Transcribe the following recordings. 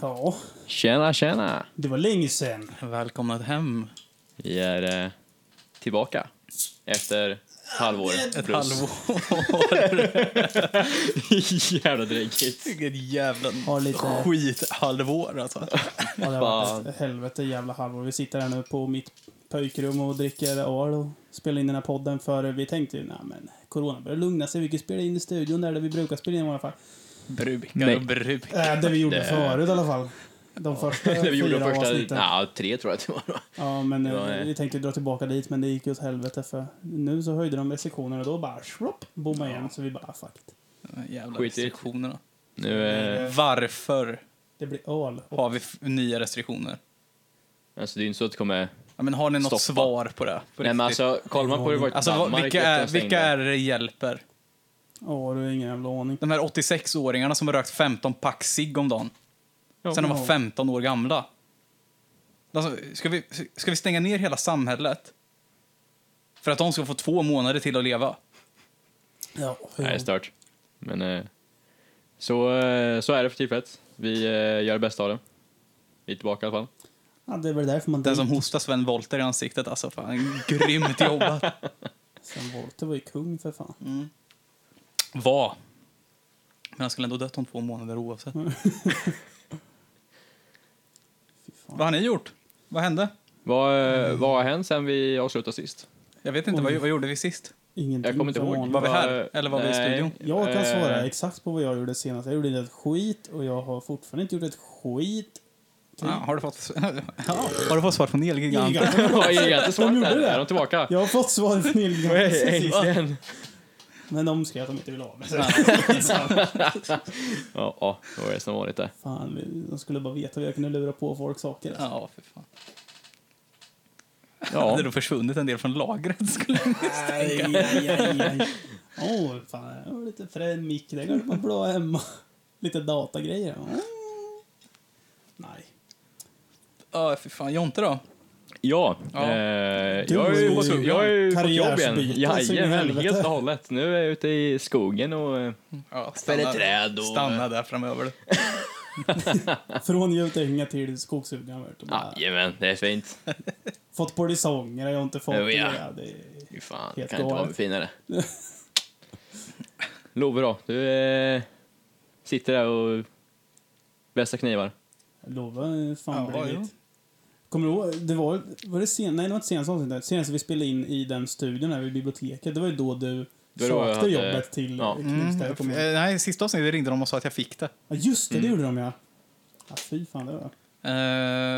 Ja, Tjena, tjena! det var länge sedan. Välkomna hem. Vi är eh, tillbaka efter ett halvår. Ett plus. halvår. Jävla dräggigt. Vilket jävla Har lite- skithalvår alltså. Ja, det har Fan. varit ett helvete jävla halvår. Vi sitter här nu på mitt pojkrum och dricker öl och spelar in den här podden för vi tänkte ju, nej men corona börjar lugna sig. Vi kan spela in i studion där, där vi brukar spela in i alla fall. Brukar Nej. och brukar. Äh, det vi gjorde Det- förut i alla fall. De första När vi gjorde fyra de första avsnitten. ja, tre tror jag att det var. Ja, men Det var, eh, eh, vi tänkte dra tillbaka dit, men det gick ju åt helvete för nu så höjde de restriktionerna och då bara shropp, bommade igen. Så vi bara, "Ah, fuck it. Jävla Skit i det. restriktionerna. Nu, eh, Varför Det blir öl. har vi f- nya restriktioner? alltså, det är ju inte så att det kommer... Ja, men har ni något Stoppa. svar på det? På Nej, men riktigt? alltså, kollar man på hur det var i Alltså, vad- Danmark vilka, efter de är, stängde- vilka är det det hjälper? Ja, du har ingen jävla aning. De här 86-åringarna som har rökt 15 pack cigg om dagen. Sen de var 15 år gamla. Alltså, ska, vi, ska vi stänga ner hela samhället för att de ska få två månader till att leva? Ja, Nej, det är stört. Men eh, så, eh, så är det för tillfället. Vi eh, gör det bästa av det. Vi är tillbaka i alla fall. ja, det är väl därför man Den som dricker. hostar Sven Wollter i ansiktet, alltså fan, grymt jobbat. Sen Volter var ju kung för fan. Mm. Var. Men han skulle ändå dött om två månader oavsett. Fy fan. Vad har ni gjort? Vad hände? Vad, eh, vad har hänt sen vi avslutade sist? Jag vet inte, vad, vad gjorde vi sist? Ingenting Jag kommer inte för ihåg. vanligt. Var vi här? Vad- Eller var vi i nej, studion? Jag kan eh, svara exakt på vad jag gjorde senast. Jag gjorde inte ett skit och jag har fortfarande inte gjort ett skit. Ah, Ja, har, du fått, ja, har du fått svar från Mm. Elgiganten? Ja, jag är jättesvårt De gjorde där. det. Är de tillbaka? Jag har fått svar från Elgiganten sen sist. Äntligen. Men de skrev att de inte ville ha mig. så- Ja, ja, det var det som vanligt det. Fan, de skulle bara veta hur jag kunde lura på folk saker. alltså. Ja, för fan. Ja. Ja, Hade då försvunnit en del från lagret skulle jag Aj, aj, aj, aj. Åh, fan. Jag har lite frän mick. Den kan man blå hemma. Lite datagrejer. Mm. Nej. Ja, för fan. Jonte då? ja. Ja. Eh, Du jag har ju är fått, jag har ju fått jobb igen. karriärsbyte, så in i Jajamän, helvete. helt och hållet. Nu är jag ute i skogen och eh, Ja, fäller träd och... Stanna där framöver. Från Götehänga till skogshuggan. vet du, bara- Jajamän, det är fint. Fått polisonger har jag inte fått. Oh, ja. Ja, det är Fy fan, Helt kan inte vara galet. mer finare. Love då, du eh, sitter där och vässar knivar. jag lovar, fan Ja, blir ja. det. Kommer du ihåg, det var, var det sen, nej det var inte senaste avsnittet, senast vi spelade in i den studion här vid biblioteket, det var ju då du Det var då jag sökte hade- jobbet till ja. ja. Knivsta. jag kommer ihåg. Eh, Nej, sista avsnittet ringde de och sa att jag fick det. Ja, just Mm. det, det gjorde de ja. ja fy fan, det var jag.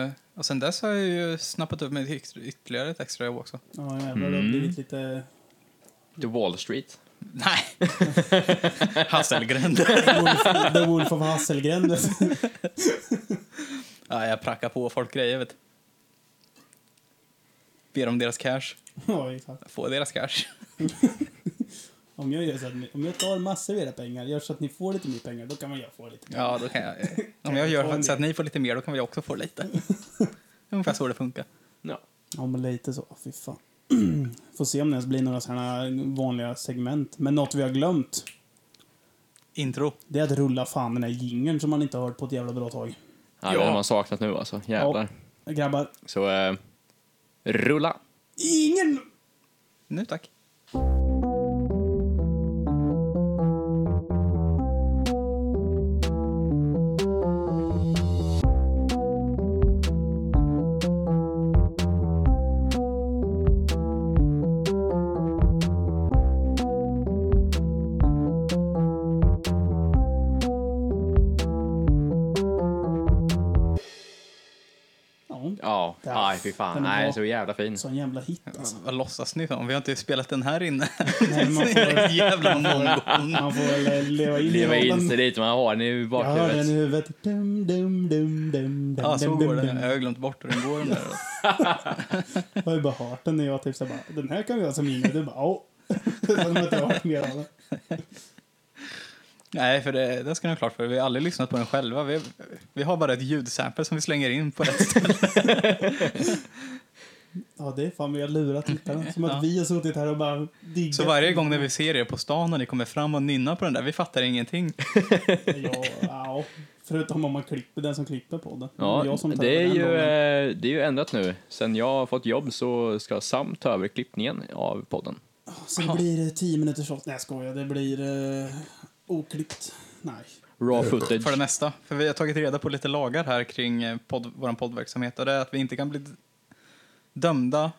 Eh, och sen dess har jag ju snappat upp mig till yt- ytterligare ett extra jobb också. Ja jävlar, det har Mm. blivit lite... Till Wall Street. Nej. Hasselgren. Wolf, the Wolf of Hasselgren. vet du. ja, jag prackar på folk grejer, vet du. Ber om deras cash. ja, exakt. Få deras cash. Om jag, gör så att, ni- om jag tar massor av era pengar, gör så att ni får lite mer pengar, då kan man jag få lite mer. Ja, då kan jag. eh, Om jag gör så att ni får lite mer, då kan jag också få lite. Ungefär så det funkar. Ja. Ja, men lite så. Fy fan. Får se om det ens blir några sådana vanliga segment. Men något vi har glömt, Intro. det är att rulla fan den här jingeln som man inte har hört på ett jävla bra tag. Ja, Det Ja. har man saknat nu alltså, jävlar. Grabbar, Så eh, rulla. ingen... Nu tack. Ja, Ja, Där. aj fy fan. Den är Nej, bra. så jävla fin. sån jävla hit alltså. Vad låtsas ni som? Vi har inte spelat den här inne. Nej, men man, får, Jävla mongo. man får väl eh, leva in i Leva in rollen. sig lite, man har den i Jag hör den i bakhuvudet. huvudet. Dum, dum, dum, dum, dum, Ja, så dum, går dum, den. dum. Jag har glömt bort hur den går. Den där. Jag har ju bara hört den när jag typ så här bara, den här kan vi ha som jingel. Du bara, åh. Sen har man inte hört mer av den. Nej, för det, det ska ni ha klart för. Vi har aldrig lyssnat på den själva. Vi, vi har bara ett ljudsample som vi slänger in på ett ställe. Ja, det är fan vi har lurat tittarna. Som att vi har suttit här och bara diggat. Så varje gång när vi ser er på stan och ni kommer fram och nynnar på den där, vi fattar ingenting. Ja, ja, förutom om man klipper, den som klipper podden. Ja, jag som tar det, är över den ju, rollen. eh, det är ju ändrat nu. Sen jag har fått jobb så ska Sam ta över klippningen av podden. Sen blir det 10 minuters shot. Nej, jag skojar. Det blir eh, oklippt. Nej. Raw För det footage. mesta. För vi har tagit reda på lite lagar här kring eh, podd, vår poddverksamhet. Och det är att vi inte kan bli d- dömda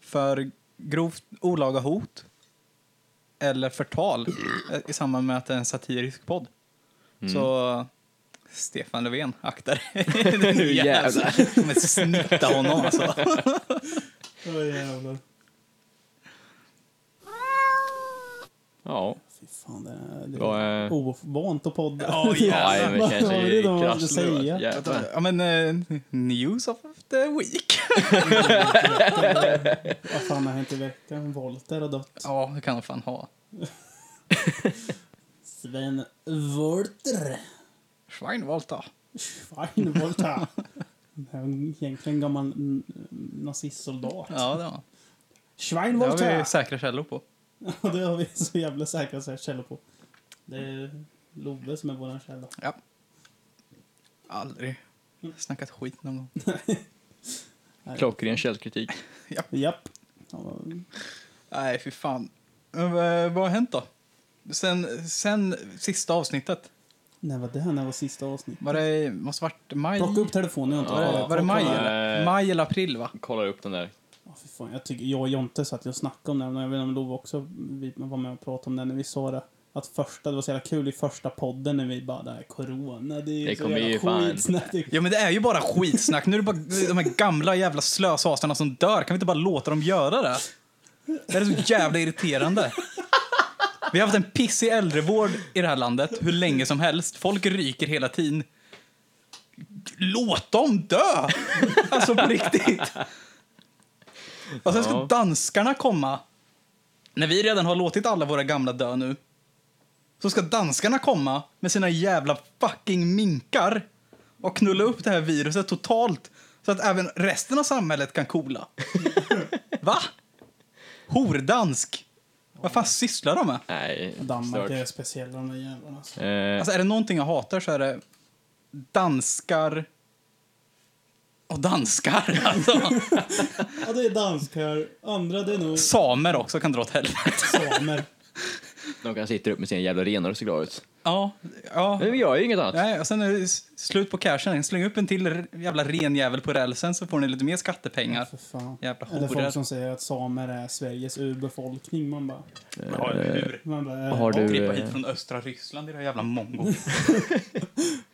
för grovt olaga hot eller förtal eh, i samband med att det är en satirisk podd. Mm. Så Stefan Löfven, akta dig. Nu jävlar. Jag kommer snitta honom alltså. Åh jävlar. Ja, Fy fan, det är, det Vad är är- ovant att podda. Ja, jävlar. Nej, men Vad kanske var det de är alltså. måste krasst säga? Jävlar. Ja men, eh, news of the week. Vad fan har hänt i veckan? Volter har dött. Ja, det kan de fan ha. Sven Volter. Schweinwalter. Schweinvolter. Det är en- Egentligen gammal mm, nazistsoldat. Ja, det, var. det har vi Schweinvolter! säkra källor på. Och det har vi så jävla säkra så här källor på. Det är Love som är vår källa. Ja. Mm. Aldrig snackat skit någon gång. Klockren källkritik. Japp. Ja, Nej, fy fan. Men, vad- vad har hänt då? Sen, sen sista avsnittet. När var det? här? När var sista avsnitt? Var det måste varit maj? Plocka upp telefonen, jag har inte var, det, kollat. var det maj Nej. eller? Maj eller april va? Kollar upp den där. Ja, fy fan, jag, tycker, jag och Jonte satt ju och snackade om det, men jag vet inte om Love också vi var med och pratade om det när vi sa det. Att första, det var så jävla kul i första podden när vi bara, det här är corona, det är ju Det så kommer jävla ju fan. skitsnack. Det- Ja men det är ju bara skitsnack. Nu är det bara de här gamla jävla slösasarna som dör. Kan vi inte bara låta dem göra det? Det här är så jävla irriterande. Vi har haft en pissig äldrevård i det här landet hur länge som helst. Folk ryker hela tiden. Låt dem dö! Alltså på riktigt. Och sen ska Ja. danskarna komma. När vi redan har låtit alla våra gamla dö nu. Så ska danskarna komma med sina jävla fucking minkar och knulla upp det här viruset totalt så att även resten av samhället kan coola. Va? Hordansk? Vad fan sysslar de med? Nej, Danmark är stört. speciella de där jävlarna. Alltså. Eh, Alltså är det någonting jag hatar så är det danskar och danskar. Alltså, Ja, det är danskar, andra det är nog samer också kan dra åt helvete. samer. de kan sitta upp med sina jävla renar och se glada ut. Ja, ja. Men vi gör ju inget annat. Nej, och sen är det s- slut på cashen. Släng upp en till r- jävla renjävel på rälsen så får ni lite mer Ja, skattepengar. för fan. Jävla Eller horor. folk som säger att samer är Sveriges urbefolkning. Man bara... Man bara, eh, Har Du, du... klippa eh, hit från östra Ryssland i det här jävla mongo.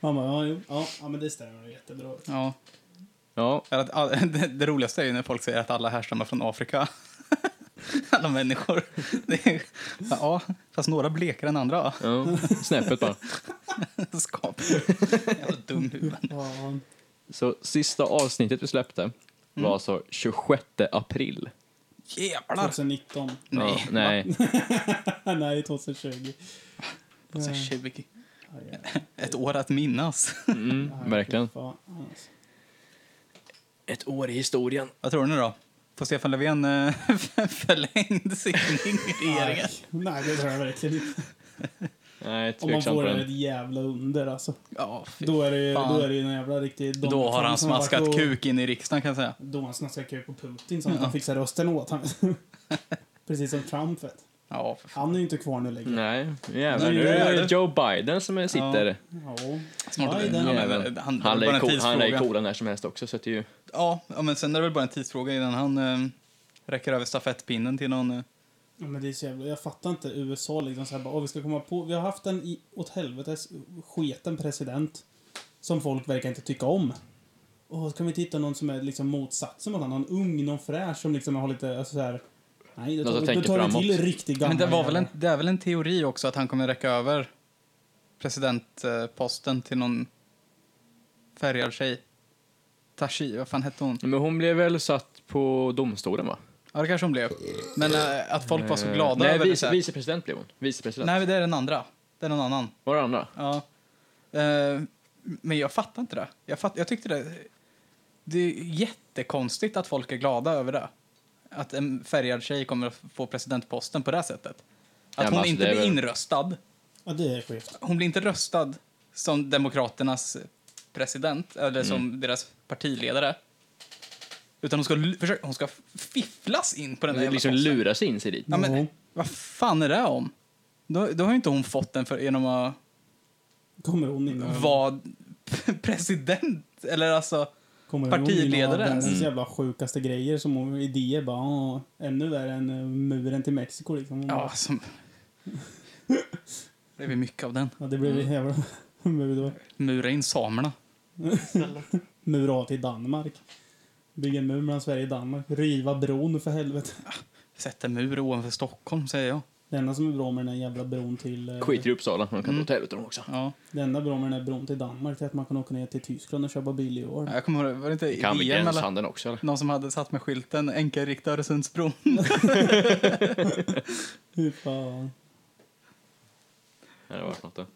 man bara ja, jo, ja, ja, men det stämmer jättebra. Ja. Ja, Eller att all- Det, det roligaste är ju när folk säger att alla härstammar från Afrika. Alla människor. Det är, ja, fast några blekare än andra. ja. snäppet bara. Skap. Jävla dum huvud. Ja, Så sista avsnittet vi släppte Mm. var alltså 26 april. Jävlar! 2019. Ja, Nej. nej. Nej, 2020. 2020. Ja, ja. Ett år att minnas. Ja, Mm, verkligen. fy fan, alltså. Ett år i historien. Vad tror ni då? Får Stefan Löfven eh, förlängd sittning i regeringen? Nej, det tror jag verkligen inte. Nej, Om man tveksam på får ett den. jävla under alltså. Ja, fy Då är det ju, fan. då är det ju någon jävla riktig... Donald Då har Trump han som varit smaskat och- kuk in i riksdagen kan jag säga. Då har han snaskat kuk på Putin som att han fixar rösten åt honom. Precis som Trump vet. Ja, för fan. Han är ju inte kvar nu längre. Nej, jävlar. Nu Nu är är det det. Joe Biden som är- sitter. Ja. Snart är Biden. det. Han är Jäveln. väl- han- Han det är bara lär en ko- han lär ju tidsfråga. kola när som helst också, så att det är ju... Ja, ja, men sen är det väl bara en tidsfråga innan han eh, räcker över stafettpinnen till någon. Eh, Ja, men det är så jävla, jag fattar inte USA liksom så här bara, "Åh, vi ska komma på, vi har haft en i, åt helvetes sketen president som folk verkar inte tycka om. Och kan vi titta någon som är liksom motsatsen mot honom, någon ung, någon fräsch som liksom har lite, alltså så här, nej, det Någon som tar, då tänker tar vi framåt. till riktigt gamla men det, var väl en, jävlar. det är väl en teori också att han kommer räcka över presidentposten till någon färgad tjej. Tashi, vad fan hette hon? Men hon blev väl satt på domstolen, va? Ja, det kanske hon blev. Men eh, att folk var så glada Nej, över vice, det. Vice, vicepresident blev hon. Vicepresident. Nej, det är den andra. Det är någon annan. Var det andra? Ja. Eh, men jag fattar inte det. Jag, fatt, jag tyckte det... det är jättekonstigt att folk är glada över det. Att en färgad tjej kommer att få presidentposten på det här sättet. men Att hon alltså, inte det är blir väl- inröstad. Ja, det är skevt. Hon blir inte röstad som Demokraternas president eller Mm. som deras partiledare. Utan hon ska, lu- försöka, hon ska fifflas in på den där jävla liksom posten. luras in sig dit. Ja, men Ja. vad fan är det om? Då, då har ju inte hon fått den för, genom att Kommer hon in och- vara president. Eller alltså, Mm. kommer partiledare Hon in och har ens? världens jävla sjukaste grejer som hon, idéer bara. åh, Ännu värre än eh, muren till Mexiko liksom. Hon ja bara, som... Det blir mycket av den. ja det blir mm. jävla mur då. Mura in samerna. Mur av till Danmark. Bygga en mur mellan Sverige och Danmark. Riva bron för helvete. Sätta mur ovanför Stockholm, säger jag. Det enda som är bra med den här jävla bron till... eh, Skiter i Uppsala, man kan mm. Mm. ta åt dem också. Ja. Det enda bra med den här bron till Danmark är att man kan åka ner till Tyskland och köpa bil i år. Jag kommer ihåg, var det inte i Mm. Kan vi VM eller? gränshandeln också eller? Någon som hade satt med skylten enkelriktad Öresundsbron. Hur fan. Ja, det var något då.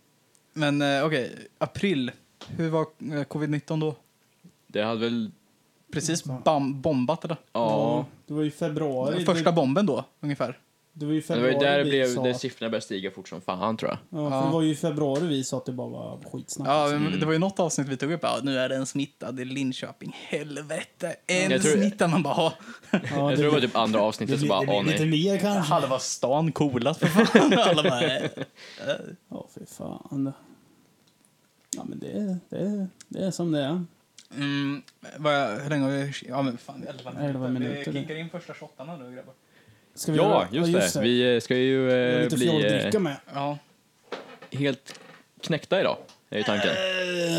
Men eh, okej, april. Hur var eh, covid-19 då? Det hade väl... Precis bam- bombat, eller? Mm. Ja. Det var ju februari. Första det, bomben då, ungefär. det var ju Det februari var ju där det vi blev, sa där att- siffrorna började stiga fort som fan tror jag. Ja, för Ja. det var ju i februari vi sa att det bara var skitsnack. Ja, men Mm. Det var ju något avsnitt vi tog upp. Ja, nu är det en smittad i Linköping. Helvete! En Jag tror- smittad. Man bara, ha. Ja, Jag tror det var typ andra avsnittet så bara, blir- det åh blir lite nej. mer kanske. halva stan coolat för fan. Alla bara, eh. Ja, fy fan. Ja, men det, det, det är som det är. mm, vad jag, hur länge har vi... Ja, men fan, 11 minuter. 11 minuter. Vi kickar in första shotarna nu, grabbar. Ska Ja, göra- just det. Vi eh, ska ju Vi har eh, lite bli fjollbricka eh, med. Ja. helt knäckta idag, är ju tanken.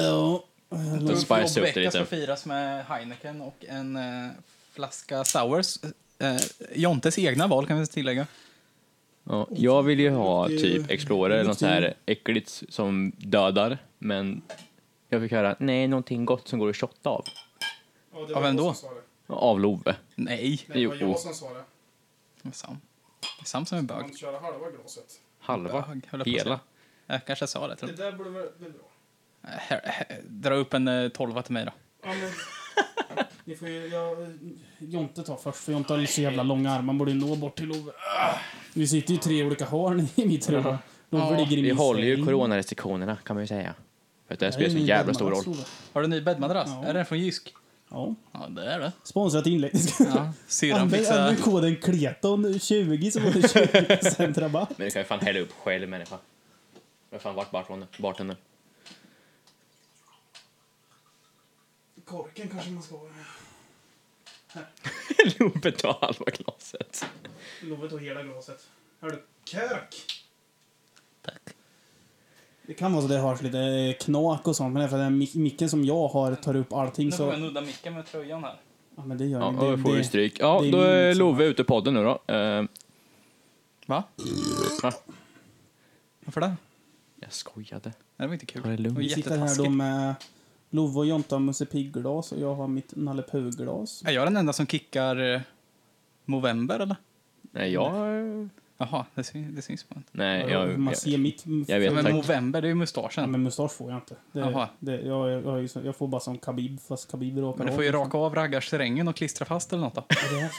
Ja, Då Ulf spice upp det Lobbecka lite. ska firas med Heineken och en eh, flaska Sours. Eh, Jontes egna val, kan vi tillägga. Ja, jag vill ju ha Det- typ Explorer, det- något så här äckligt som dödar, men jag fick höra nej, någonting gott som går att shotta av. det var vem jag då? som Av Love. Nej, det var Jo. jag som sa det. det är Sam. Det är Sam som är bög. köra halva glaset. Halva. Bög, höll jag på att Hela. säga. Jag kanske sa det, tror jag. där borde väl bli bra. Eh, här- här- Dra upp en eh, tolva till mig då. Ja, men... Ni får ju, jag, Jonte tar först, för Jonte har ju så jävla långa armar. Man borde ju nå bort till Ove. Ah! Vi sitter ju tre olika hörn i mitt rum. Ove Ja, ligger i Vi min håller ju säng. coronarestriktionerna kan man ju säga. För att det Det här är här spelar så min jävla stor roll. bäddmadrass, Ove. Har du en ny bäddmadrass? Ja. Är den från Jysk? Ja. Ja, det är det. Sponsrat inlägg. Ja. Syrran Använd fixar... använd koden KLETON20 så får du 20% rabatt. Men du kan ju fan hälla upp själv människa. Vad fan vart bartendern? bartendern? Korken kanske man ska ha. Love tar halva glaset. Lovet och hela glaset. Hör du? Kök! Tack. Det kan vara så det hörs lite eh, knak och sånt, men det är för att den mic- micken som jag har tar upp allting Nu får jag så... nudda micken med tröjan här. Ja, men det gör Ja, ni. då det, får vi det, stryk. Ja, det är då är min som- Love ute i podden nu då. Eh, Va? va? Varför det? Nej, jag skojade. Det var inte kul. Ta det lugnt. Det vi var sitter här då jättetaskigt. med Love och Jonta har Musse Pigg-glas och jag har mitt Nalle Puh-glas. Är jag den enda som kickar eh, Movember, eller? Nej, jag... Jaha, det, sy- det syns man inte. Nej, Ja, jag... man jag ser mitt... jag vet, Men tack. Movember, det är ju Ja, mustaschen. men mustasch får jag inte. Det, Jaha. det, jag, jag, har ju så- jag får bara som Khabib, fast Khabib rakar Men du av får ju liksom. raka av raggarsträngen och klistra fast eller något då. Ja, det är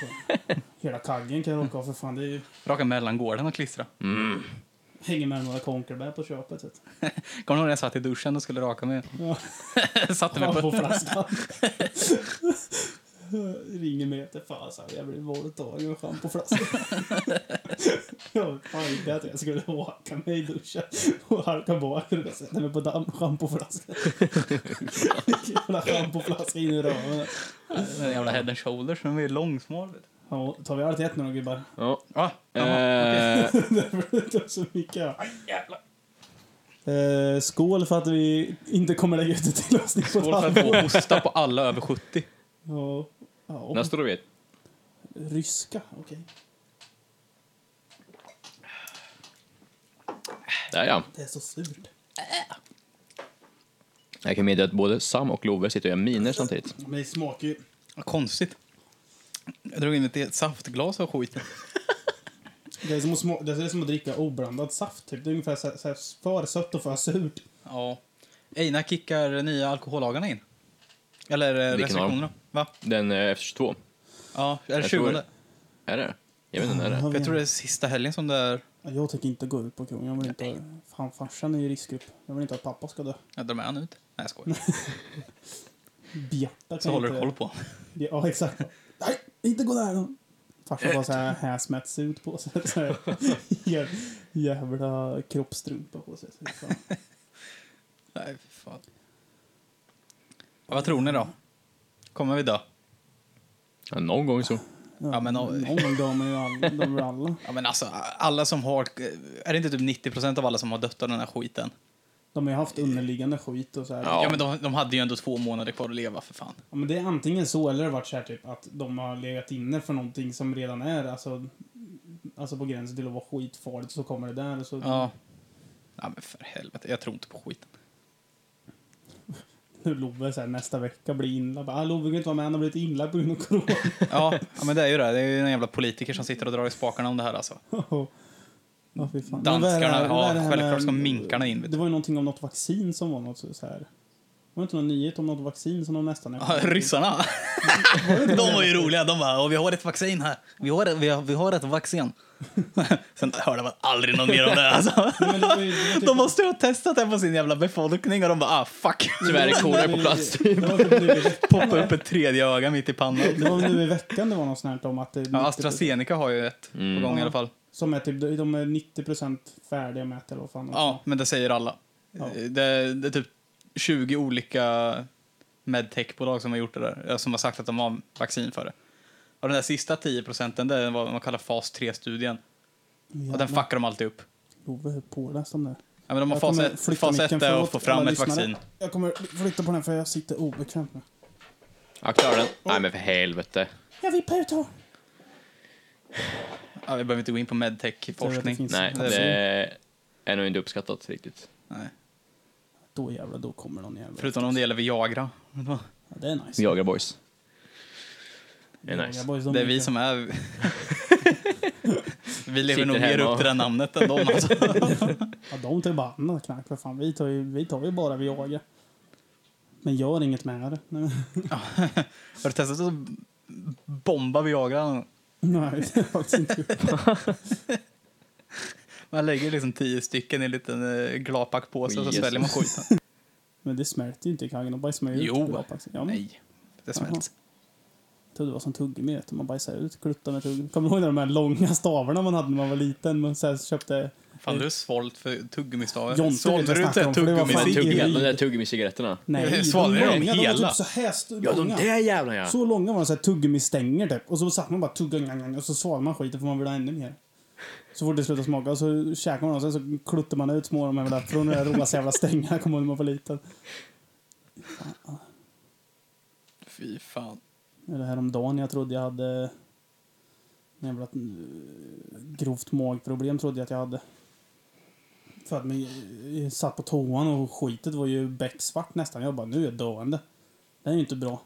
så. Hela kaggen kan jag raka av för fan. Det är ju, Raka mellangården och klistra. mm. hänger med några konkelbär på köpet. Vet. du. Kommer du ihåg när jag satt i duschen och skulle raka mig? Ja. Satte mig Ja, på på... flaskan. Ringer mig efter fasen, jag blir våldtagen och fan på flaskan. jag tänkte att jag skulle åka mig i duschen och halka bak och sätta mig på damm- schampoflaskan. Jävla schampoflaska in i röven. Den jävla head and shoulders, den var ju långsmal. vet du. Ja, tar vi allt i ett nu då gubbar? Ja. Ah, jaha. Eh, Därför det tar så mycket. Eh, skål för att vi inte kommer lägga ut det till oss. Skål för att få hosta på alla över 70. Ja, ja, Nästa då vet. ryska, okej. Där ja. Det är så surt. Jag kan meddela att både Sam och Love sitter och gör miner samtidigt. Men det smakar ju... Vad konstigt. Jag drog in ett helt saftglas av skiten. Det är som att, sma- det är som att dricka oblandad saft, typ. Det är ungefär så, så här, för sött och för surt. Ja. Eina kickar nya alkohollagarna in. Eller eh, Vilken restriktionerna. Va? Den eh, F22. Ja, är det Jag tror 20? det. Är det? Jag vet inte när det är. Ja, För jag tror det är sista helgen som det är... Jag tänker inte gå ut på krogen. Jag vill inte... Fan, farsan är ju i riskgrupp. Jag vill inte att pappa ska dö. Jag drar med han ut. Nej, jag skojar. Bjärta kan Så håller du inte... koll på Ja, exakt. Nej, inte gå där! Farsan har så här hazmat ut på sig. Så här, jä- jävla kroppstrumpa på sig. Så fan. Nej, fy fan. Ja, Vad tror ni då? Kommer vi dö? Ja, någon gång så. Ja, men- någon gång dör man ju alla. dör väl alla. Ja, men alltså, alla som har... Är det inte typ 90 procent av alla som har dött av den här skiten? De har ju haft underliggande skit och så här. Ja. Ja, men de, de hade ju ändå två månader kvar att leva, för fan. Ja, men det är antingen så eller det har varit så här typ att de har legat inne för någonting som redan är alltså, alltså på gränsen till att vara skitfarligt så kommer det där och så Ja. Ja, men för helvete. Jag tror inte på skiten. nu Love så här, nästa vecka blir inlagd. Ah, Love kan inte vara med, han har blivit inlagd på grund av corona. Ja, ja men det är ju det. Det är ju en jävla politiker som sitter och drar i spakarna om det här alltså. Ja, fy fan. Men vad är det Danskarna, här- vad är det ja, här självklart med- ska minkarna in. Vet Det du. var ju någonting om något vaccin som var något så så här. Var det inte någon nyhet om något vaccin som de nästan är Ja, ryssarna. De var ju roliga. De bara, "Och vi har ett vaccin här. Vi har, vi har, vi har ett vaccin. Sen hörde man aldrig någon mer om det. Alltså. Nej, men det var ju- det var typ- De måste ju ha testat det på sin jävla befolkning och de bara, ah fuck. Tyvärr är korna på Det- plats. det var typ nu i veck- Poppa upp ett tredje öga mitt i pannan. Det var nu i veckan det var något sånt här om att det är Ja, 90% AstraZeneca har ju ett Mm. på gång i alla fall. Som är typ, de är 90% färdiga med det eller vad fan de Ja, men det säger alla. Ja. Det, det är typ 20 olika medtechbolag som har gjort det där, eh, som har sagt att de har vaccin för det. Och den där sista 10 procenten, det är vad man kallar fas 3-studien. sa. Och den fuckar de alltid upp. Love är påläst om det. Ja, men de har Jag kommer fas 1, flytta fas micken, 1 är att förlåt, få fram alla ett lyssnare. vaccin. Jag kommer flytta på den för jag sitter obekvämt nu. Akta öronen. Nej men för helvete. Jag vill puta! Ja, vi behöver inte gå in på medtech-forskning. finns- Nej, Det är det är nog inte uppskattat riktigt. Nej. Då jävlar, då kommer någon jävla... Förutom om det gäller Viagra. Ja, det är nice. Jagar boys. Det är nice. boys, de Det är är vi lite- som är... vi lever Sitter nog mer hemma upp och- till det namnet än de. Alltså. Ja, de tar ju bara annat knark för fan. Vi tar ju, vi tar ju bara Viagra. Men gör inget med det. Nej, Har du testat att bomba Viagra? Nej, det är faktiskt inte gjort. Man lägger liksom tio stycken i en liten eh, glapackpåse och så Jesus. sväljer man skiten. Men det smälter ju inte i kagen. De bajsar ju ut. Jo. bra, faktiskt. Ja, men, Nej, det smälts. Jag trodde det var som tuggummi, vet du. man bajsar ut kluttar med tuggummi. Kommer du ihåg de här långa stavarna man hade när man var liten? Man så här köpte... Fan, du har svalt för tuggummistavar. Jonte Sålde vet du jag inte snackar om, för det var Men fan- tuggummi? tugg, Sigrid. de där tuggummi-cigaretterna. Nej, de Svalde du dem långa, De var hela? typ så här st- Ja, de långa. där jävlarna ja. Så långa var de, så här tuggummi-stänger typ. Och så satt man bara tugga gna, gna, gna, och så svalde man skiten för man ville ha ännu mer. Så fort det slutade smaka och så käkade man och sen så kluttade man ut små av de här där från de där rosa jävla stängarna kommer ihåg när man var liten. Fy fan. Eller häromdagen jag trodde jag hade... När jag blev grovt magproblem trodde jag att jag hade. För att man jag satt på toan och skitet var ju becksvart nästan. Jag bara, nu är jag döende. Det här är ju inte bra.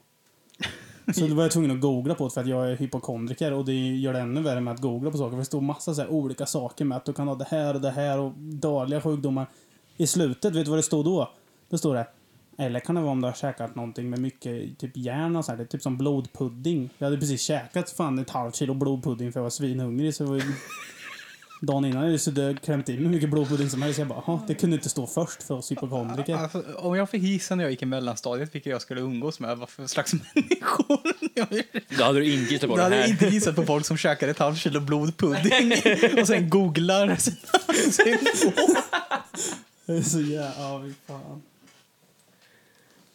Så då var jag tvungen att googla på det för att jag är hypokondriker och det gör det ännu värre med att googla på saker. För det står massa så här olika saker med att du kan ha det här och det här och dagliga sjukdomar. I slutet, vet du vad det stod då? Då står det eller kan det vara om du har käkat någonting med mycket typ järn och så här, det är typ som blodpudding. Jag hade precis käkat fan ett halvt kilo blodpudding för jag var svinhungrig så det var ju... Dagen innan hade jag suttit och klämt in hur mycket blodpudding som helst. Jag bara, "Jaha, det kunde inte stå först för oss hypokondriker. Alltså, om jag fick gissa när jag gick i mellanstadiet vilka jag skulle umgås med, vad för slags människor? Då hade du inte gissat på Då det hade jag här. inte gissat på folk som käkar ett halvt kilo blodpudding och sen googlar sina symptom. Det är Så jävla... Ja, fan.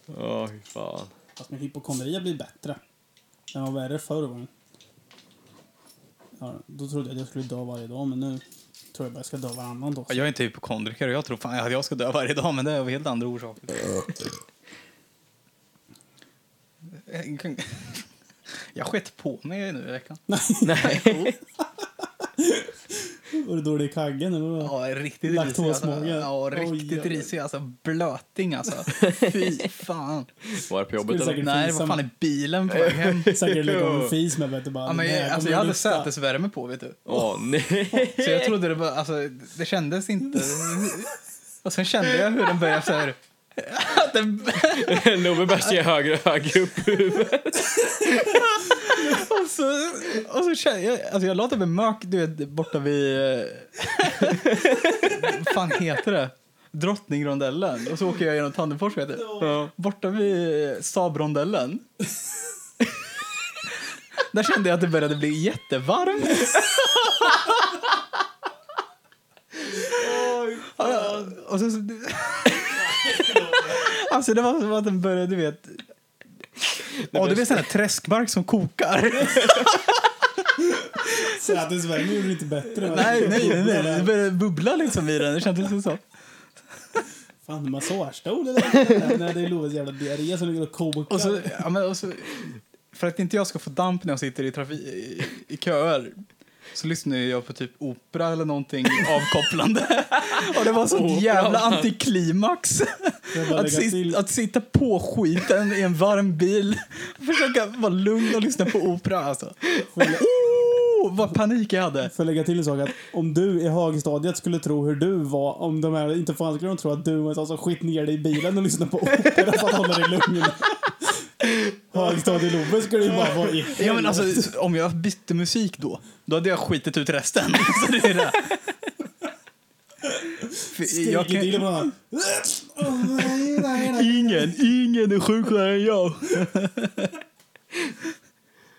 Åh, fy fan. Fast med hypokondri har blivit bättre. Den var värre förr var den. Ja, då trodde jag att jag skulle dö varje dag, men nu tror jag bara jag ska dö varannan dag. Ja, Jag är inte hypokondriker och jag tror fan att jag ska dö varje dag, men det är av helt andra orsaker. Jag skett på mig nu i veckan. Nej. Var det dålig i kaggen eller? vad? Ja, riktigt risig. Alltså. Laktosmage. Ja, Oj, riktigt jävlar. risig. Alltså, blöting alltså. Fy fan. Var det på Skulle jobbet eller? säkert- Nej, det var fan i bilen på väg hem. Säkert ligga och fis med vet du bara. Ja, "Den här men, alltså, kommer jag hade lukta." sätesvärme på, vet du. Åh nej. Så jag trodde det var, alltså, det kändes inte. Och sen kände jag hur den började så här Den, Nobbe börjar se högre och högre upp i huvudet. och, så, och så känner jag, alltså jag la typ en mök, du vet, borta vid... eh, Vad fan heter det? Drottningrondellen. Och så åker jag genom Tandefors, vet du. Ja. Borta vid eh, Saabrondellen. Där kände jag att det började bli jättevarmt. Och- Och så, så, alltså det var som att den började, du vet... Ja, du vet sån här träskmark som kokar. Sätesvärme gjorde det inte bättre. va? Nej, nej, nej, nej. Det började bubbla liksom i den. Det kändes som så. Fan, massagestol eller? Nej, det är Loves jävla diarré som ligger och kokar. Och så, ja, men, och så, för att inte jag ska få damp när jag sitter i, trafi, i, i köer så lyssnar jag på typ opera eller någonting avkopplande. Och det var sånt Opera. jävla antiklimax. Det är bara Att, lägga sit, till. att sitta på skiten i en varm bil och försöka vara lugn och lyssna på opera alltså. Oh, vad panik jag hade. Får jag lägga till en sak att om du i högstadiet skulle tro hur du var om de här inte fan skulle de tro att du var en sån som skit ner dig i bilen och lyssnade på opera för att hålla dig lugn. Högstadie-Love skulle ju bara vara i Ja, men alltså, om jag bytte musik då, då hade jag skitit ut resten. Så det är det. För jag skrikigt illa kan, bland annat. Åh, nej, nej, nej. ingen, ingen är sjukare än jag.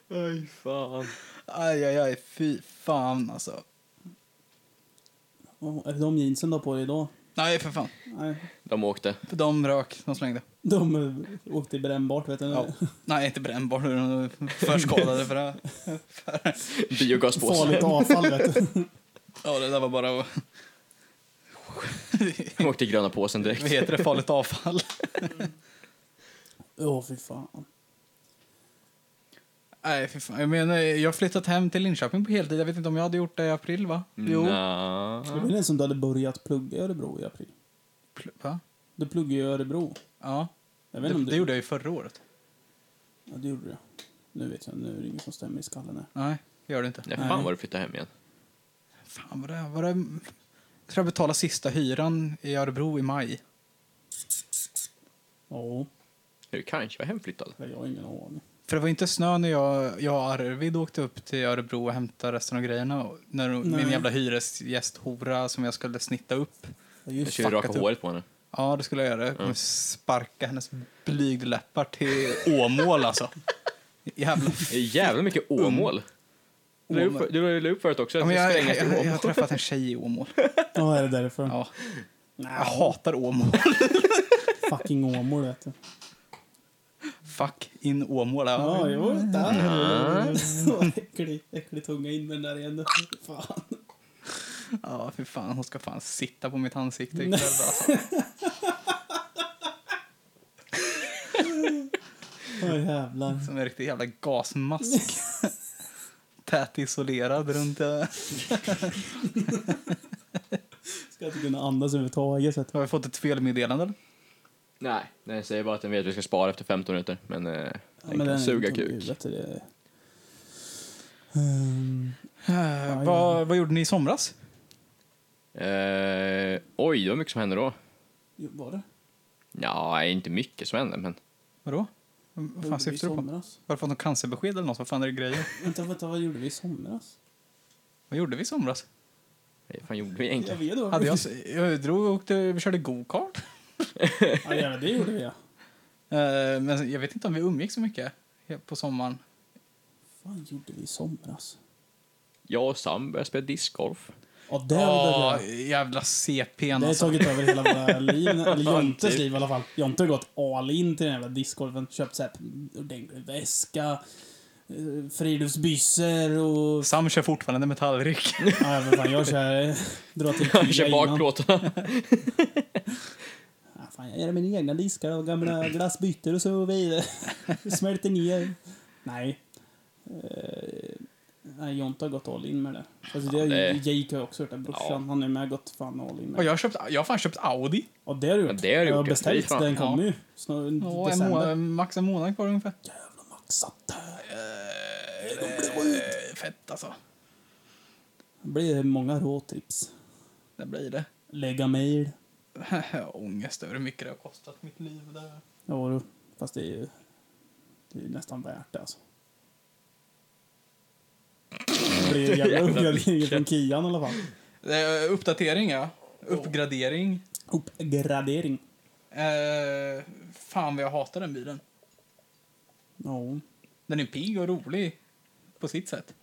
Aj, fan. Aj, aj, aj, fy fan alltså. Åh, Är det de jeansen du har på dig idag? Nej, för fan. Nej. De åkte. För de rök, de slängde. De eh, åkte brännbart vet du. Ja. Nej, inte brännbart, de är förskadade för det. Biogaspåse. Farligt avfall vet du. Ja, det där var bara... De åkte i gröna påsen Vad direkt. heter det? Farligt avfall. Åh fy fan. Nej, för fan. Jag menar, jag har flyttat hem till Linköping på heltid. Jag vet inte om jag hade gjort det i april, va? Mm, Nja. Det var den som du hade börjat plugga i Örebro i april. Pl- Va? Du pluggade ju i Örebro. Ja. Jag vet inte Det, om det gjorde jag ju förra året. Ja, det gjorde du. Nu vet jag, nu är det inget som stämmer i skallen här. Nej, det gör det inte. När fan var du flyttade hem igen? Fan, vad det, vad det... Jag tror jag betalade sista hyran i Örebro i maj. Ja, Du kanske var hemflyttad. det har jag ingen aning. För det var inte snö när jag, jag och Arvid åkte upp till Örebro och hämtade resten av grejerna. Och När min Nej. jävla hyresgästhora som jag skulle snitta upp. Ja, just Jag kör ju raka fuckat upp. håret på henne. Ja, det skulle jag göra. Jag kommer sparka hennes blygdläppar till Åmål alltså. Jävla... Det är jävla mycket Åmål. Du la upp- Du la upp förut också Mm. Ja, att men det ska jag, jag, hängas till jag, jag har Åmål. träffat en tjej i Åmål. Ja, är det därför? Ja. Jag hatar Åmål. Fucking Åmål vet du. Fuck in Åmål. Ja, Ja. jo, där. äcklig, äcklig tunga in med den där igen. Fan. ja, för fan. Hon ska fan sitta på mitt ansikte ikväll alltså. Åh jävlar. Som en riktig jävla gasmask. Tät isolerad runt... eh, Ska inte kunna andas överhuvudtaget. så att- Har vi fått ett felmeddelande? eller? Nej, nej, säg bara att den vet att vi ska spara efter 15 minuter. Men eh, Ja, den men kan den är suga inte kuk. dum, vet du, det- Ehm, Eh, ja. vad, vad gjorde ni i somras? Eh, oj, det var mycket som hände då. jo, var det? Ja, inte mycket som hände, men... Vadå? Vad fan gjorde vi i syftar du på? somras? Har du fått något cancerbesked eller något? Vad fan är det grejer? Vänta, vänta, vad gjorde vi i somras? Vad gjorde vi i somras? Vad fan gjorde vi Jag egentligen? vet inte. Hade jag, jag drog och åkte, vi körde go-kart. Ja, jävlar, det gjorde vi ja. Eh, men jag vet inte om vi umgicks så mycket på sommaren. fan gjorde vi i somras? Jag och Sam började spela discgolf. Ja, det Åh, oh, jävla CPn Det har alltså. tagit över hela våra liv, eller Jontes Typ. liv i alla fall. Jonte har gått all in till den jävla discgolfen. Köpt såhär ordentlig väska, eh, friluftsbyssor och... Sam kör fortfarande metallryck. Ja, men fan, jag kör... eh, Drar till Han Kia kör innan. bakplåtarna. Ja, fan, jag gör mina egna diskar och gamla glassbyttor och så vidare. Smälter ner. Nej. Eh, nej, Jonte har gått all in med det. Alltså, det, har ju- det- Jake har ju också gjort det. Brorsan, Ja. han är med gått fan all in med Och det. jag har, köpt, jag har fan köpt Audi. Och det har du gjort. Ja, det har du jag gjort, ja. Fy beställt. fan. Den kommer Ja. ju. Snart i Ja, en december. månad, max en månad kvar ungefär. Maxat. Eh, fett alltså. Det blir många råtips. Det blir det. Lägga mejl. Jag har ångest över hur mycket det har kostat mitt liv. Där. Ja, du. Fast det är ju... Det är ju nästan värt det alltså. Det blir en jävla Jävla uppgradering mycket. från Kian i alla fall. Eh, Uppdatering, ja. Uppgradering. Uppgradering. Eh, fan vad jag hatar den bilen. Ja. Den är pigg och rolig på sitt sätt.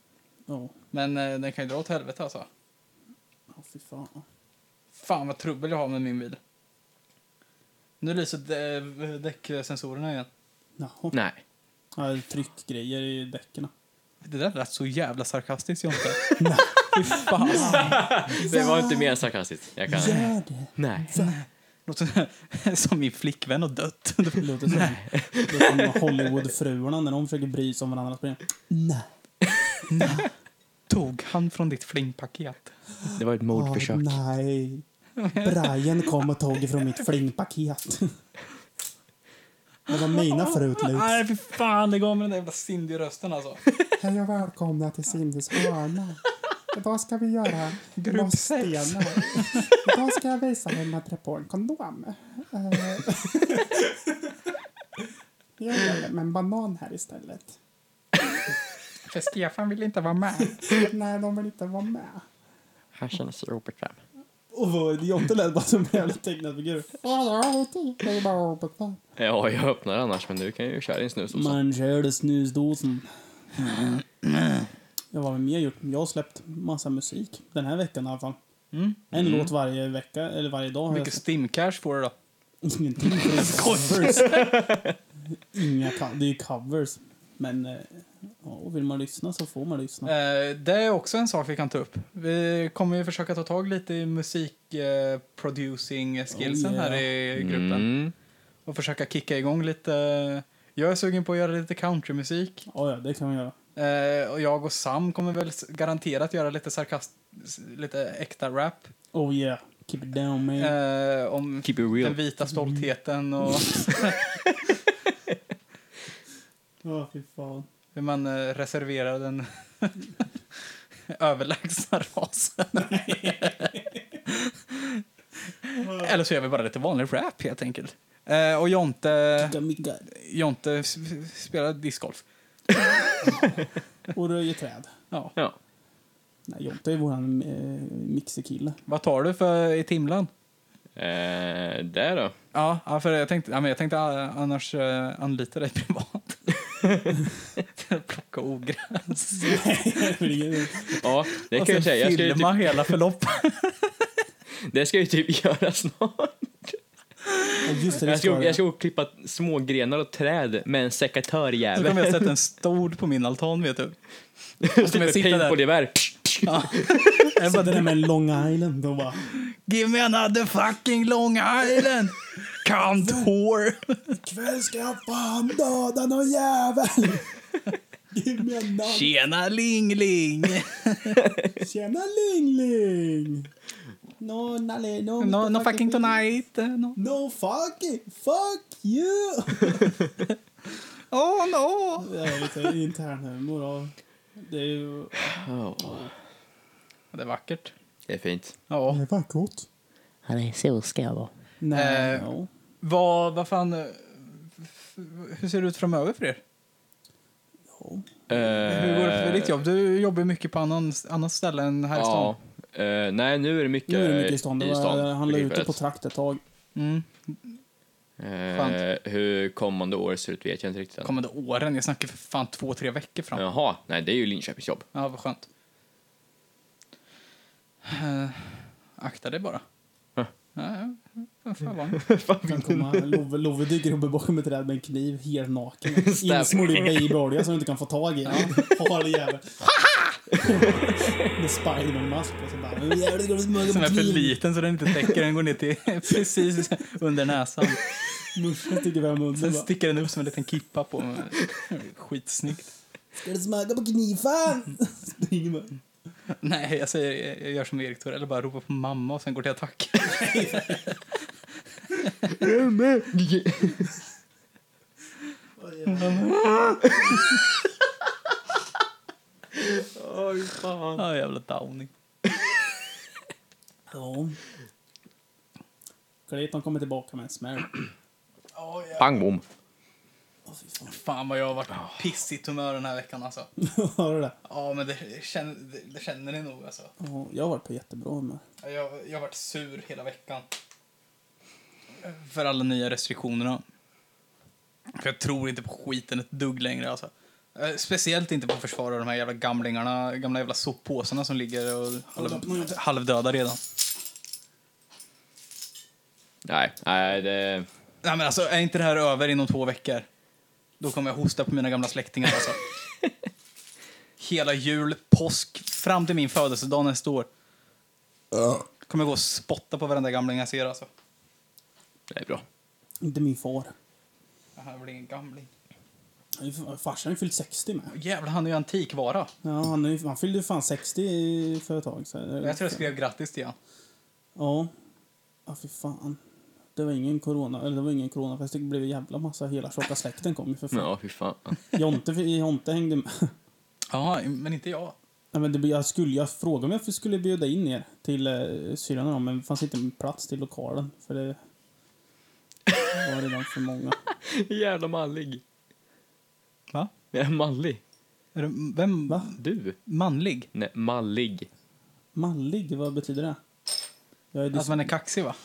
Ja. Men eh, den kan ju dra åt helvete alltså. Ja, fy fan. Fan vad trubbel jag har med min bil. Nu lyser dä- däcksensorerna igen. Jaha. Nej. Ja, det är tryckgrejer i däcken. Det där lät så jävla sarkastiskt Jonte. Fy fan. Det var inte mer sarkastiskt. Jag kan... Gör det! Nej. Låter som min flickvän har dött. Det låter som, det låter som Hollywoodfruarna när de försöker bry sig om varandras problem. Nej. Tog han från ditt flingpaket? Det var ett mordförsök. nej. Brian kom och tog ifrån mitt flingpaket. Det var mina förut, Lutz. Ah, Nej, fy fan. Det gav mig den där jävla Cindy-rösten alltså. Hej och välkomna till Cindy's hörna. Idag ska vi göra Grupp sex. lossstenar. Idag ska jag visa hur man trär på en kondom. Eh, Jag gör det med en banan här istället. För Stefan vill inte vara med. Nej, de vill inte vara med. Han känner sig obekväm. Och vad, Jonte lät bara som en jävla tecknad figur. typ? Ja, jag öppnar annars, men du kan ju köra din snus också. Man körde snusdosen. Jag var med gjort. Jag har släppt massa musik. Den här veckan i alla fall. Mm. En låt varje vecka, eller varje dag. Hur har jag mycket stimcash får du då? Ingenting för det är covers. Inga co- det är ju covers. Men eh, ja, och vill man lyssna så får man lyssna. Eh, det är också en sak vi kan ta upp. Vi kommer ju försöka ta tag lite i musikproducing-skillsen Oh, yeah. här i gruppen. Mm. Och försöka kicka igång lite. Jag är sugen på att göra lite countrymusik. Ja, ja, det kan man göra. Eh, och jag och Sam kommer väl s- garanterat göra lite sarkast... s- lite äkta rap. Oh yeah, keep it down man. Eh, om Keep it den real. vita stoltheten och Ja, fy fan. hur man eh, reserverar den överlägsna rasen. Eller så gör vi bara lite vanlig rap helt enkelt. Eh, och Jonte, Kicka miggar Jonte s- s- spelar discgolf. och röjer träd. Ja. Ja. Nej, Jonte är våran eh, mixerkille. Vad tar du för i timlan? Eh, där då. Ja, ja, för jag tänkte, ja, men jag tänkte eh, annars eh, anlita dig privat. Till att Plocka ogräs. Ja, det Och kan jag sen säga. Jag ska, ju filma typ, hela förloppet. det ska jag ju typ göra snart. Ja, just det, det Jag ska, det. jag ska gå och klippa små grenar och träd med en Så kommer sekatörjävel. jag sätta en stol på min altan, vet du. Och kommer typ jag ett sitta där. paintballgevär. Ja. Jag sitter där med en Long Island och bara Give me another fucking Long Island! Cunt whore! Ikväll ska jag fan döda någon jävel! Give me a nod. Tjena Lingling! Tjena Ling Ling! No, nalle, no, No, no inte fucking tonight! eh, No. No fucking, fuck you! Oh no! Det är lite intern humor av... Det är ju... Ja, Det är vackert. Det är fint. Ja. eh, Det var gott. Han är så ska jag vara. Nej, Eh. ja. Vad, vad fan... eh, f- Hur ser det ut framöver för er? Ja. Hur går det för ditt jobb? Du jobbar mycket på annan, annat ställe än här i stan. Ja. Eh, nej, nu är det mycket, Nu är det mycket i stan. i Det stan, var, han la begriper ute jag på rätt. trakt ett tag. Mm. Eh, hur kommande år ser ut vet jag inte riktigt än. Kommande åren. Jag snackar för fan två, tre veckor fram. Ja, Jaha, nej det är ju Linköpings jobb. vad skönt. Eh, akta dig bara. Huh. Ja, ja. Vad fan var det? Kan komma, Love, Love dyker upp bakom ett träd med en kniv, helt naken. Stab. Insmord i babyolja som du inte kan få tag i. Han har det jävel. Med Spiderman-mask på sig bara. "Men jävlar, ska du smaka Som på är för kniv?" liten så den inte täcker. Den går ner till precis under näsan. Morsan sticker fram munnen Sen bara. sticker den upp som en liten kippa på mig. Skitsnyggt. Ska du smaka på kniven? Springer man. Nej, jag säger, jag gör som Erik Thor, eller bara ropar på mamma och sen går till attack. Ja, jävla downing. Ja. åker dit, de kommer tillbaka med en smäll. Pang bom. Åh, fy fan. Fan vad jag har varit pissigt humör den här veckan alltså. Hör du det? Ja, men det känner, det, det känner ni nog alltså. Ja, jag har varit på jättebra humör. Ja, Jag, jag har varit sur hela veckan. För alla nya restriktionerna. För jag tror inte på skiten ett dugg längre alltså. Eh, Speciellt inte på att försvara de här jävla gamlingarna, gamla jävla soppåsarna som ligger och halv, halvdöda redan. Nej, nej det... Nej men alltså, är inte det här över inom två veckor? Då kommer jag hosta på mina gamla släktingar alltså. Hela jul, påsk, fram till min födelsedag nästa år. Kommer jag gå och spotta på varenda gamling jag ser alltså. Det är bra. Inte min far. Det här blir ingen gamling. Han är ju f- Farsan har ju fyllt 60 med. Jävlar, han är ju antikvara. Ja, han, är, ju- han fyllde ju fan 60 för ett tag sedan. Jag tror jag skrev grattis till honom. Ja. Ja, fy fan. Det var ingen corona, eller det var ingen coronafest. Det blev en jävla massa. Hela tjocka släkten kom ju för fan. Ja, fy fan. Jonte, Jonte hängde med. Ja, men inte jag. Nej, men det, jag, skulle, jag frågade om jag skulle bjuda in er till eh, syrran och dem, men det fanns inte plats till lokalen. För det var redan för många. Jävla mallig. Va? Nej, mallig. Är du, vem? Va? Du? Manlig? Nej, mallig. Mallig, vad betyder det? Jag är dis- Att Alltså, man är kaxig, va?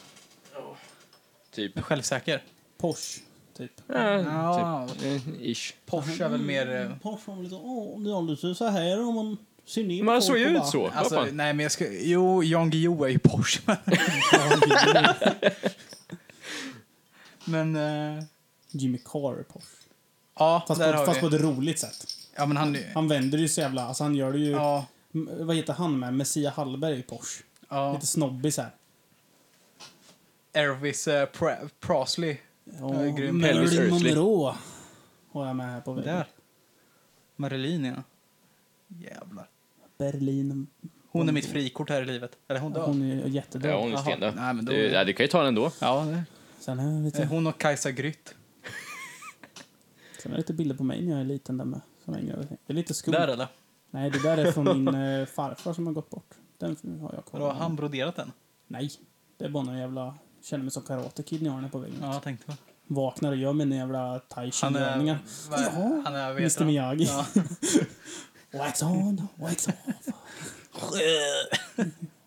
Typ. Självsäker? Porsche, typ. Ja, Ja. typ. Eh, Ish. Porsche är väl mer... eh, Porsche, om lite, åh, om det håller sig så här om man ser ner Men han folk såg ju och ut bara- så. Vad Alltså, fan? nej men jag ska... Jo, Jan Guillou är ju Porsche, men... men eh, Jimmy Carr är Porsche. ja, Fast, där på, har fast på vi. ett roligt sätt. Ja, men han... Han vänder ju så jävla... Alltså han gör det ju... Ja, M- Vad heter han med? Messia Hallberg är ju Porsche. ja. Lite snobbig så här. Elvis eh, Pre- Presley. Ja, är grym. Elvis Marilyn Presley. Monroe har jag med här på väggen. Där. Marilyn, ja. Jävlar. Berlin. Hon är mitt frikort här i livet. Eller hon dör. Hon är ju jättedålig. Ja, hon är Jaha. stendöd. Nej, men då- Du, ja, du kan ju ta den ändå. Ja, det- Sen är det eh, lite, hon och Kajsa Grytt. sen är det lite bilder på mig när jag är liten där med. Som hänger över. Det är lite skumt. Där eller? Nej, det där är från min eh, farfar som har gått bort. Den har jag kvar. Då har han broderat den? Nej, det är bara någon jävla... Känner mig som Karate Kid när jag har den på väggen. Ja, jag tänkte väl. Vaknar och gör mina jävla tai Han är... chi-övningar. vad- Ja, han är... vad heter Mr han? Miyagi. Ja. Wax on, wax off.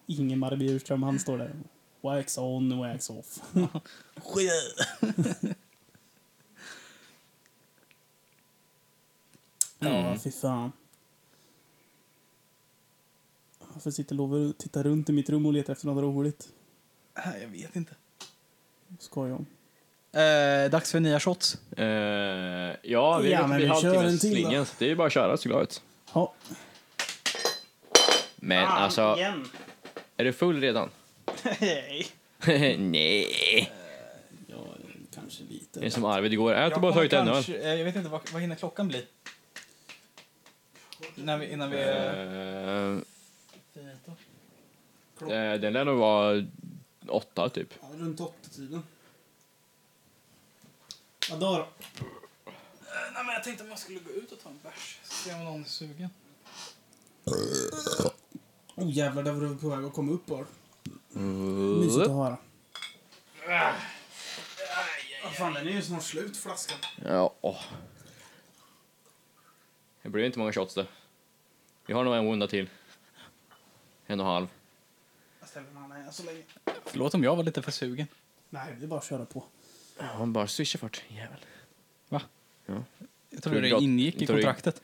Ingemar Bjurström, han står där. Wax on, wax off. Mm. Ja, fy fan. Varför sitter Love och tittar runt i mitt rum och letar efter något roligt? Nej, Jag vet inte. Skoj om. Eh, dags för nya shots. Eh, ja, vi Ja, har men gått vi kör en förbi till då. halvtimmesslingan, så det är ju bara att köra så glad ut. Ja. Men alltså, Igen. är du full redan? Nej. Nej. Ja, kanske Det är lite. som Arvid igår. Ät och bara kommer tagit en öl. kanske- eh, Jag vet inte, vad, vad hinner klockan bli? När vi, innan vi... Eh, fint då. eh, Den lär nog vara åtta, typ. Ja, runt åtta-tiden. Ja, då då. Eh, Nej, men jag tänkte att man skulle gå ut och ta en bärs. Se om någon är sugen. Oh jävlar, där var du på väg att komma upp bara. Mysigt att höra. Vad fan, den är ju snart slut, flaskan. Ja. åh. Det blir inte många shots, det. Vi har nog en runda till. En och en halv. Jag ställer den här så länge. Förlåt om jag var lite för sugen. Nej, det är bara att köra på. Han bara swishar fort, jävel. Jag Tror tror du det gott- ingick i tror du- kontraktet.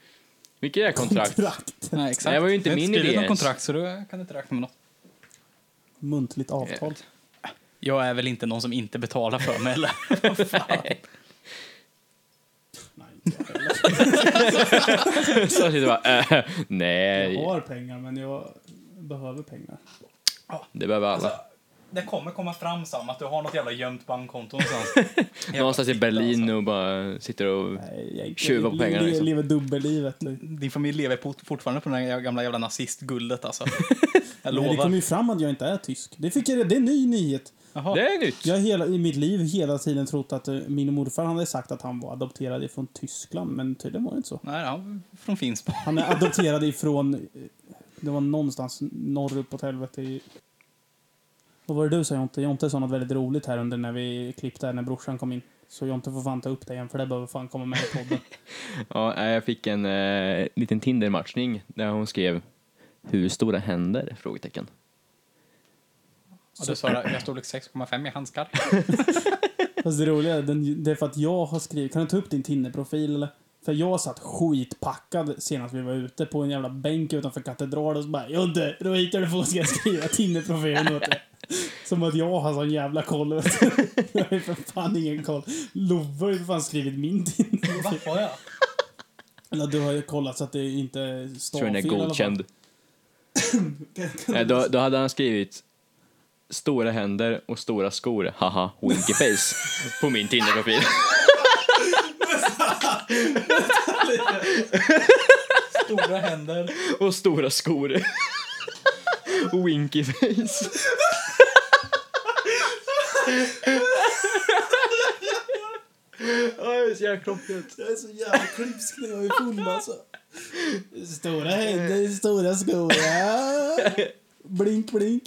Vilket är kontrakt? Nej, exakt. Det var ju inte jag har min skrivit idé något ens. kontrakt, så då kan du inte räkna med något. Muntligt avtal. Jag är väl inte någon som inte betalar för mig, eller? Nej, inte jag heller. Så jag sitter bara, eh, nej. Jag har pengar, men jag behöver pengar. Det behöver alla. Alltså, Det kommer komma fram, Sam, att du har något jävla gömt bankkonto någonstans. Någonstans i Berlin alltså. nu och bara sitter och... Nej, jag Tjuva på jag pengarna, le- liksom. lever dubbellivet. Liksom. Din familj lever pot- fortfarande på det här gamla jävla nazistguldet, alltså. Jag Nej, lovar. det kom ju fram att jag inte är tysk. Det, fick jag, det är en ny nyhet. Jaha. Det är nytt! Jag har hela, i mitt liv hela tiden trott att eh, min morfar hade sagt att han var adopterad ifrån Tyskland, men tydligen var det inte så. Nej, han är från Finspång. Han är adopterad ifrån... eh, Det var någonstans norrut på helvete i... Vad var det du sa Jonte? Jonte sa något väldigt roligt här under när vi klippte här när brorsan kom in. Så Jonte får fan ta upp det igen för det behöver fan komma med i podden. Ja, nej, jag fick en eh, liten Tinder-matchning där hon skrev Hur stora händer? Frågetecken. Och du sa jag storlek 6,5 i handskar. Fast det roliga är, den, det är för att jag har skrivit, kan du ta upp din Tinder-profil eller? För jag satt skitpackad senast vi var ute på en jävla bänk utanför katedralen och så bara Jonte, då hittar du på ska jag skriva Tinder-profilen åt dig. Som att jag har sån jävla koll. vet du. Jag har ju för fan ingen koll. Love har ju för fan skrivit min Tinder. Varför jag? Eller du har ju kollat så att det inte är Tror den är stavfel i alla fall. godkänd. Kan- kan- Nej, då, då hade han skrivit Stora händer och stora skor, haha, winky face på min Tinder-profil. Stora händer. och stora skor. winky face. Ja, det är så jäkla klockrent. Jag är så jävla klipsk när jag är full alltså. Stora händer, stora skor. ja. Blink, blink.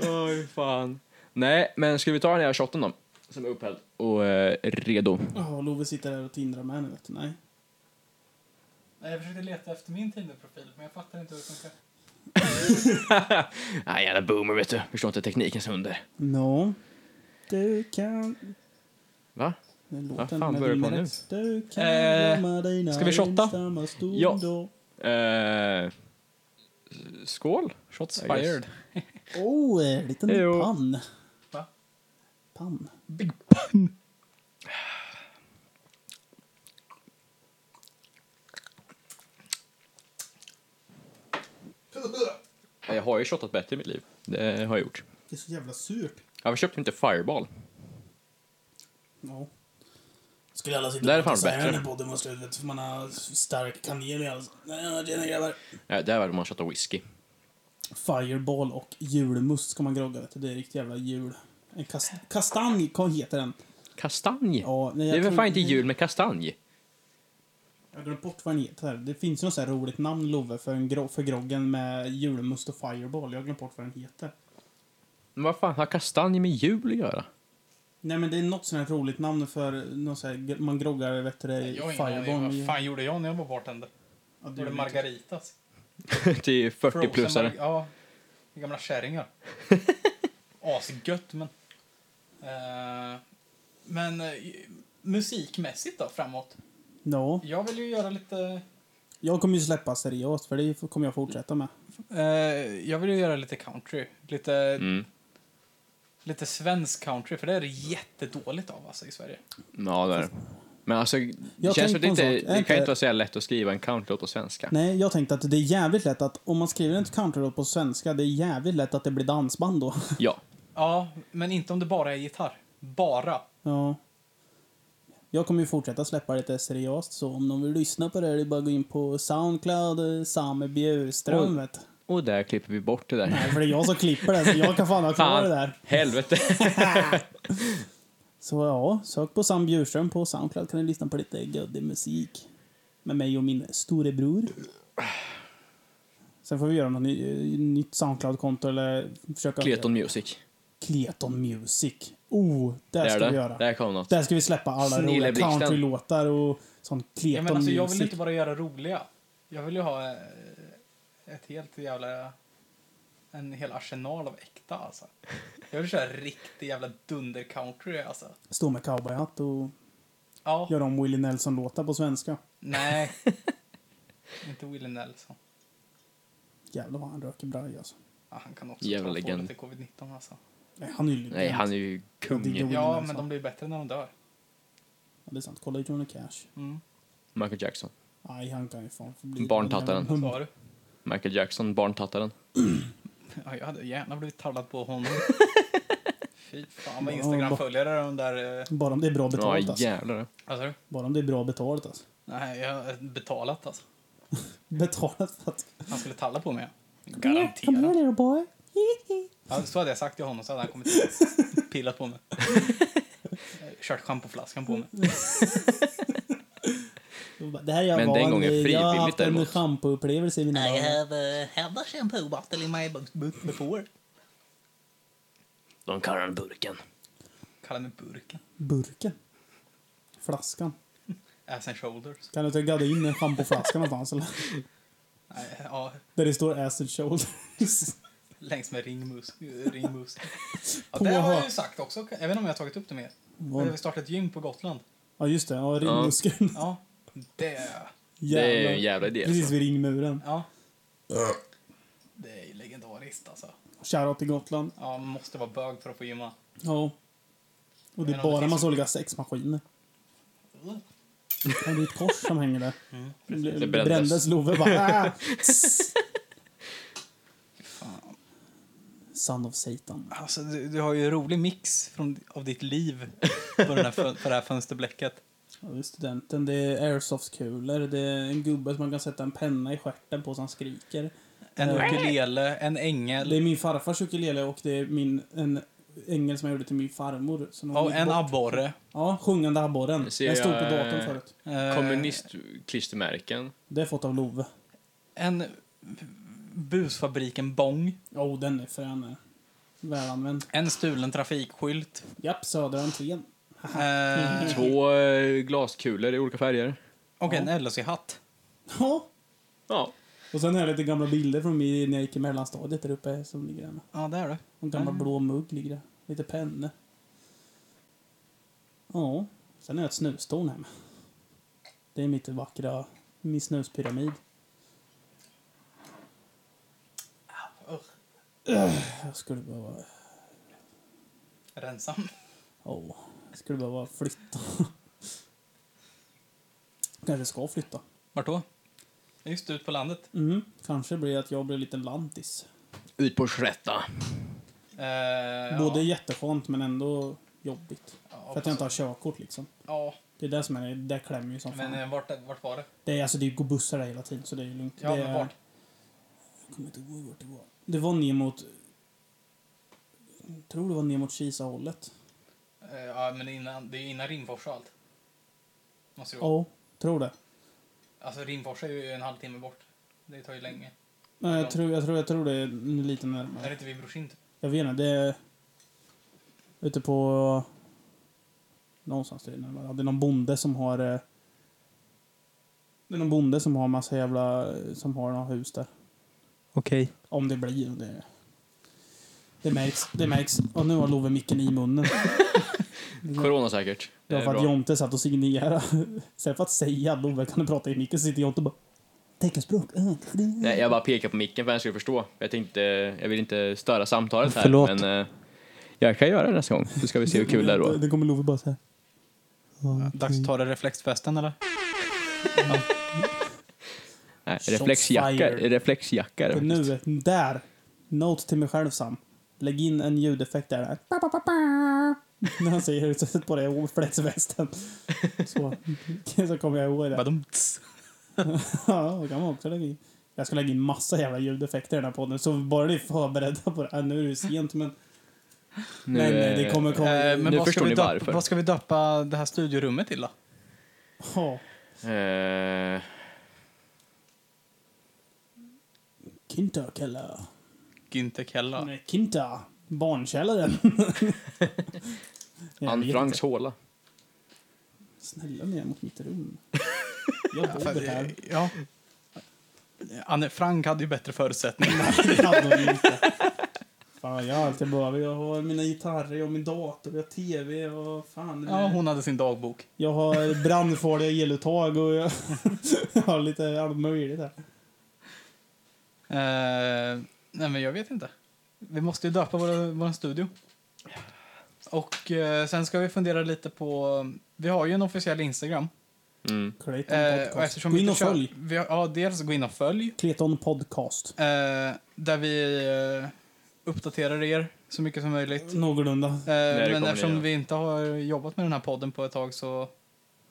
Oj, fan. Nej, men ska vi ta den här shotten då? Som är upphälld och eh, redo. Ja, Love sitter där och tindrar med henne, vet du. Nej. Jag försökte leta efter min Tinder-profil, men jag fattar inte hur det funkar. Nej, jävla boomer vet du. Förstår inte teknikens under. No. Du kan... Va? Den Vad fan den är börjar det på väl nu? rätt. Du kan Eh, glömma dina ska vi shotta? ensamma stunder. Ja. Eh, skål. Shots I guess. fired. Oh, en liten Jo. pann. Va? Pann. Big pun. Jag har ju shottat bättre i mitt liv. Det har jag gjort. Det är så jävla surt. Jag köpte inte Fireball. Ja. Skulle alla sitta Där är och fan säga bättre. när podden var slut, vet du, för man har stark kanel i halsen. Nej, tjena grabbar. Nej, Eh, det här var man shottar whisky. Fireball och julmust ska man grogga, vet du. Det är riktigt jävla jul. En kast kastanj kan- heter den. Kastanj? Ja, nej, det jag är väl tror- fan inte jul med kastanj? Jag har glömt bort vad den heter. här. Det finns ju något så här roligt namn, Love, för, en gro för groggen med julmust och fireball. Jag har glömt bort vad den heter. Men vad fan har kastanj med jul att göra? Nej, men det är något sånt här roligt namn för något så här, gr- man groggar, vet du det, Jag har ingen fireball. aning. med- Vad fan gjorde jag när jag var bartender? Ja, Var det det är margarin. margaritas? Till Frozen marg- 40-plussare. Ja, gamla kärringar. Asgött, men... Eh, men eh, musikmässigt då, framåt? Ja, Jag vill ju göra lite... jag kommer ju släppa seriöst, för det f- kommer jag fortsätta med. Eh, jag vill ju göra lite country. Lite, Mm. lite svensk country, för det är det jättedåligt av alltså, i Sverige. Ja, det är det. Men alltså, det Jag känns som det tänkte inte... på en sak. Är Det inte- kan ju inte vara så jävla lätt att skriva en countlåt på svenska. Nej, jag tänkte att det är jävligt lätt att om man skriver en countrylåt på svenska, det är jävligt lätt att det blir dansband då. Ja. Ja, men inte om det bara är gitarr. Bara. Ja. Jag kommer ju fortsätta släppa lite seriöst, så om någon vill lyssna på det här, det är bara att gå in på Soundcloud, eh, Sami Bjurström, Oj. vet Och där klipper vi bort det där. Nej, för det är jag som klipper det, så jag kan fan ha kvar Fan. det där. Helvete. Så ja, sök på Sam Bjurström på Soundcloud kan ni lyssna på lite göddig musik. Med mig och min storebror. Sen får vi göra något ny, eh, nytt Soundcloud-konto eller försöka... Kleton Music. Kleton Music. Oh, där, Där ska vi du. göra. Där kom något. Där ska vi släppa alla Snille roliga blixten. countrylåtar och sån Kleton Ja, men alltså, jag Music. vill inte bara göra roliga. Jag vill ju ha eh, ett helt jävla... En hel arsenal av äkta, alltså. Jag vill köra riktig jävla dunder-country, alltså. Stå med cowboyhatt och Ja. göra om Willie Nelson-låtar på svenska. Nej. inte Willie Nelson. Jävlar vad han röker braj alltså. Ja, han kan också Jävla ta på legend. lite covid-19, alltså. Nej, han är ju Nej, han är ju Ja, kung. det- Ja, Nelson. men de blir bättre när de dör. Ja, det är sant. Kolla Johnny Cash. Mm. Michael Jackson. Nej, han kan ju fan få bli... Barntattaren. Så var du. Michael Jackson, barntattaren. Ja, jag hade gärna blivit tallad på honom. Fy fan vad Ja, Instagram-följare de där... eh, Bara om det är bra Ja, betalt alltså. jävlar. Vad sa du? Bara om det är bra betalt alltså. Nej, jag har betalat alltså. Betalat för att... Han skulle talla på mig. Kom här Garanterat. little boy. Ja, så hade jag sagt till honom så hade han kommit hit. Pillat på mig. Kört schampoflaskan på mig. Och bara, Det här jag Men var den en- gången Jag har frivilligt haft en däremot. schampoupplevelse i mina dagar. have a, have a shampoo bottle in my boot before. De kallar den burken. Kallar den burken. Burken. Flaskan. Ass and shoulders. Kan du inte gadda in en schampoflaska någonstans eller? Nej, ja, Där det står acid shoulders. längs med ringmus. ringmus. Ja, På det har jag hö- ju sagt också. Jag vet inte om jag har tagit upp det mer. Vad- Jag vill starta ett gym på Gotland. Ja, just det. Ja, ringmuskeln. Ja, det, Det är ju en Jävlar. jävla idé. Precis Alltså. vid ringmuren. ja. Äh. det är ju legendariskt alltså. Shoutout till Gotland. Ja, man måste vara bög för att få gymma. Ja. Och det Men om är det bara en finns massa en- olika sexmaskiner. Ja, det är ett kors som hänger där. Det, bl- Det det brändes. brändes. Love bara... Ah! Son of Satan. Alltså, du, du har ju en rolig mix från, av ditt liv på, den här, fön- på det här fönsterblecket. Ja, det är studenten, det är airsoftkulor, det är en gubbe som man kan sätta en penna i stjärten på så han skriker. En Eh, ukulele, en Det är ängel min farfars ukulele och det är min, en ängel som jag gjorde till min farmor. Som hon och gick en bort. abborre. Ja, sjungande abborren. Det ser Den stod på jag, datorn eh, förut. Eh, Kommunistklistermärken. Det är fått av Love. En busfabriken Bong. Jo, oh, den är frän. Välanvänd. En stulen trafikskylt. Japp, södra entrén. Eh, Två eh, glaskulor i olika färger. och en LHC-hatt. Ja. Ja. Och sen är det lite gamla bilder från mig när jag gick i mellanstadiet där uppe som ligger där. med. Ja, det är det. En gammal blå mugg ligger där. Lite pennor. Ja. Sen är det ett snustorn hemma. Det är mitt vackra, min snuspyramid. Jag skulle behöva, Rensam. åh, jag skulle behöva flytta. Kanske ska flytta. Vart då? Just ut på landet. Mm. Kanske blir det att jag blir en liten lantis. Ut på slätta. Eh, Både ja. jätteskönt men ändå jobbigt. Ja, för att jag inte har körkort liksom. Ja, Det är det som är, det klämmer ju som men fan. eh, vart, vart var det? Det är alltså det går bussar där hela tiden så det är lugnt. Ja, det men är, vart? Jag kommer inte ihåg vart det var. Det var ner mot... Jag tror det var ner mot Kisa-hållet. Eh, Ja, men innan, det är ju innan Rimfors och allt. Måste det Ja, vara. tror det. Alltså Rimfors är ju en halvtimme bort. Det tar ju länge. Nej, Ja. jag, tror, jag, tror, jag tror det är lite Är det närmare. inte vid Brorsin? typ? Jag vet inte, det är... Ute på... Någonstans där närmare. Ja, Det är någon bonde som har... eh, Det är någon bonde som har massa jävla... Som har några hus där. Okej. Om det blir. Det, det märks. Det märks. Och nu har Love micken i munnen. Coronasäkert. Det var är för att bra. Jonte satt och signerade. Istället för att säga Love kan du prata i micken så sitter Jonte och bara Teckenspråk. äh, det- Nej, jag bara pekar på micken för att jag skulle förstå. Jag tänkte, jag vill inte störa samtalet här. Förlåt. Men eh, jag kan göra det nästa gång. Så ska vi se hur kul det är då. Det kommer Love bara så här. Dags att ta det reflexfesten eller? Nej, Shots reflexjacka. fired. Reflexjacka är det För faktiskt. nu, där. Note till mig själv Sam. Lägg in en ljudeffekt där. där. Pa, pa, pa, pa. När han säger hur sätt på det och flätsvästen. Så, så kommer jag ihåg det. Badumts. Ja, det kan man också lägga in. Jag ska lägga in massa jävla ljudeffekter i den här podden. Så bara ni är förberedda på det. Äh, nu är det sent men. Nu, nej, nej, det eh, kommer komma. Eh, Nu men vad ska, förstår vi ni döpa, varför. vad ska vi döpa det här studiorummet till då? Ja, eh, Kinta kallar. Günther Keller. Nej, Kinta. Barnkällaren. Jag Anne vet Franks inte. håla. Snälla ner mot mitt rum. Jag bor här. Ja. Anne Frank hade ju bättre förutsättningar. Det hade hon inte. Fan, jag har alltid bara, jag har mina gitarrer, jag har min dator, jag har tv och fan. Ja, hon hade sin dagbok. Jag har brandfarliga eluttag och jag, jag har lite allt möjligt där. Eh, nej, men jag vet inte. Vi måste ju döpa vår, vår studio. Och eh, sen ska vi fundera lite på... Vi har ju en officiell Instagram. Mm. Clayton Eh, och podcast. eftersom Gå vi in inte och kör- följ. Vi har, ja, dels gå in och följ. Clayton podcast. Eh, där vi eh, uppdaterar er så mycket som möjligt. Någorlunda. Eh, Mm. det men kommer eftersom nya. vi inte har jobbat med den här podden på ett tag så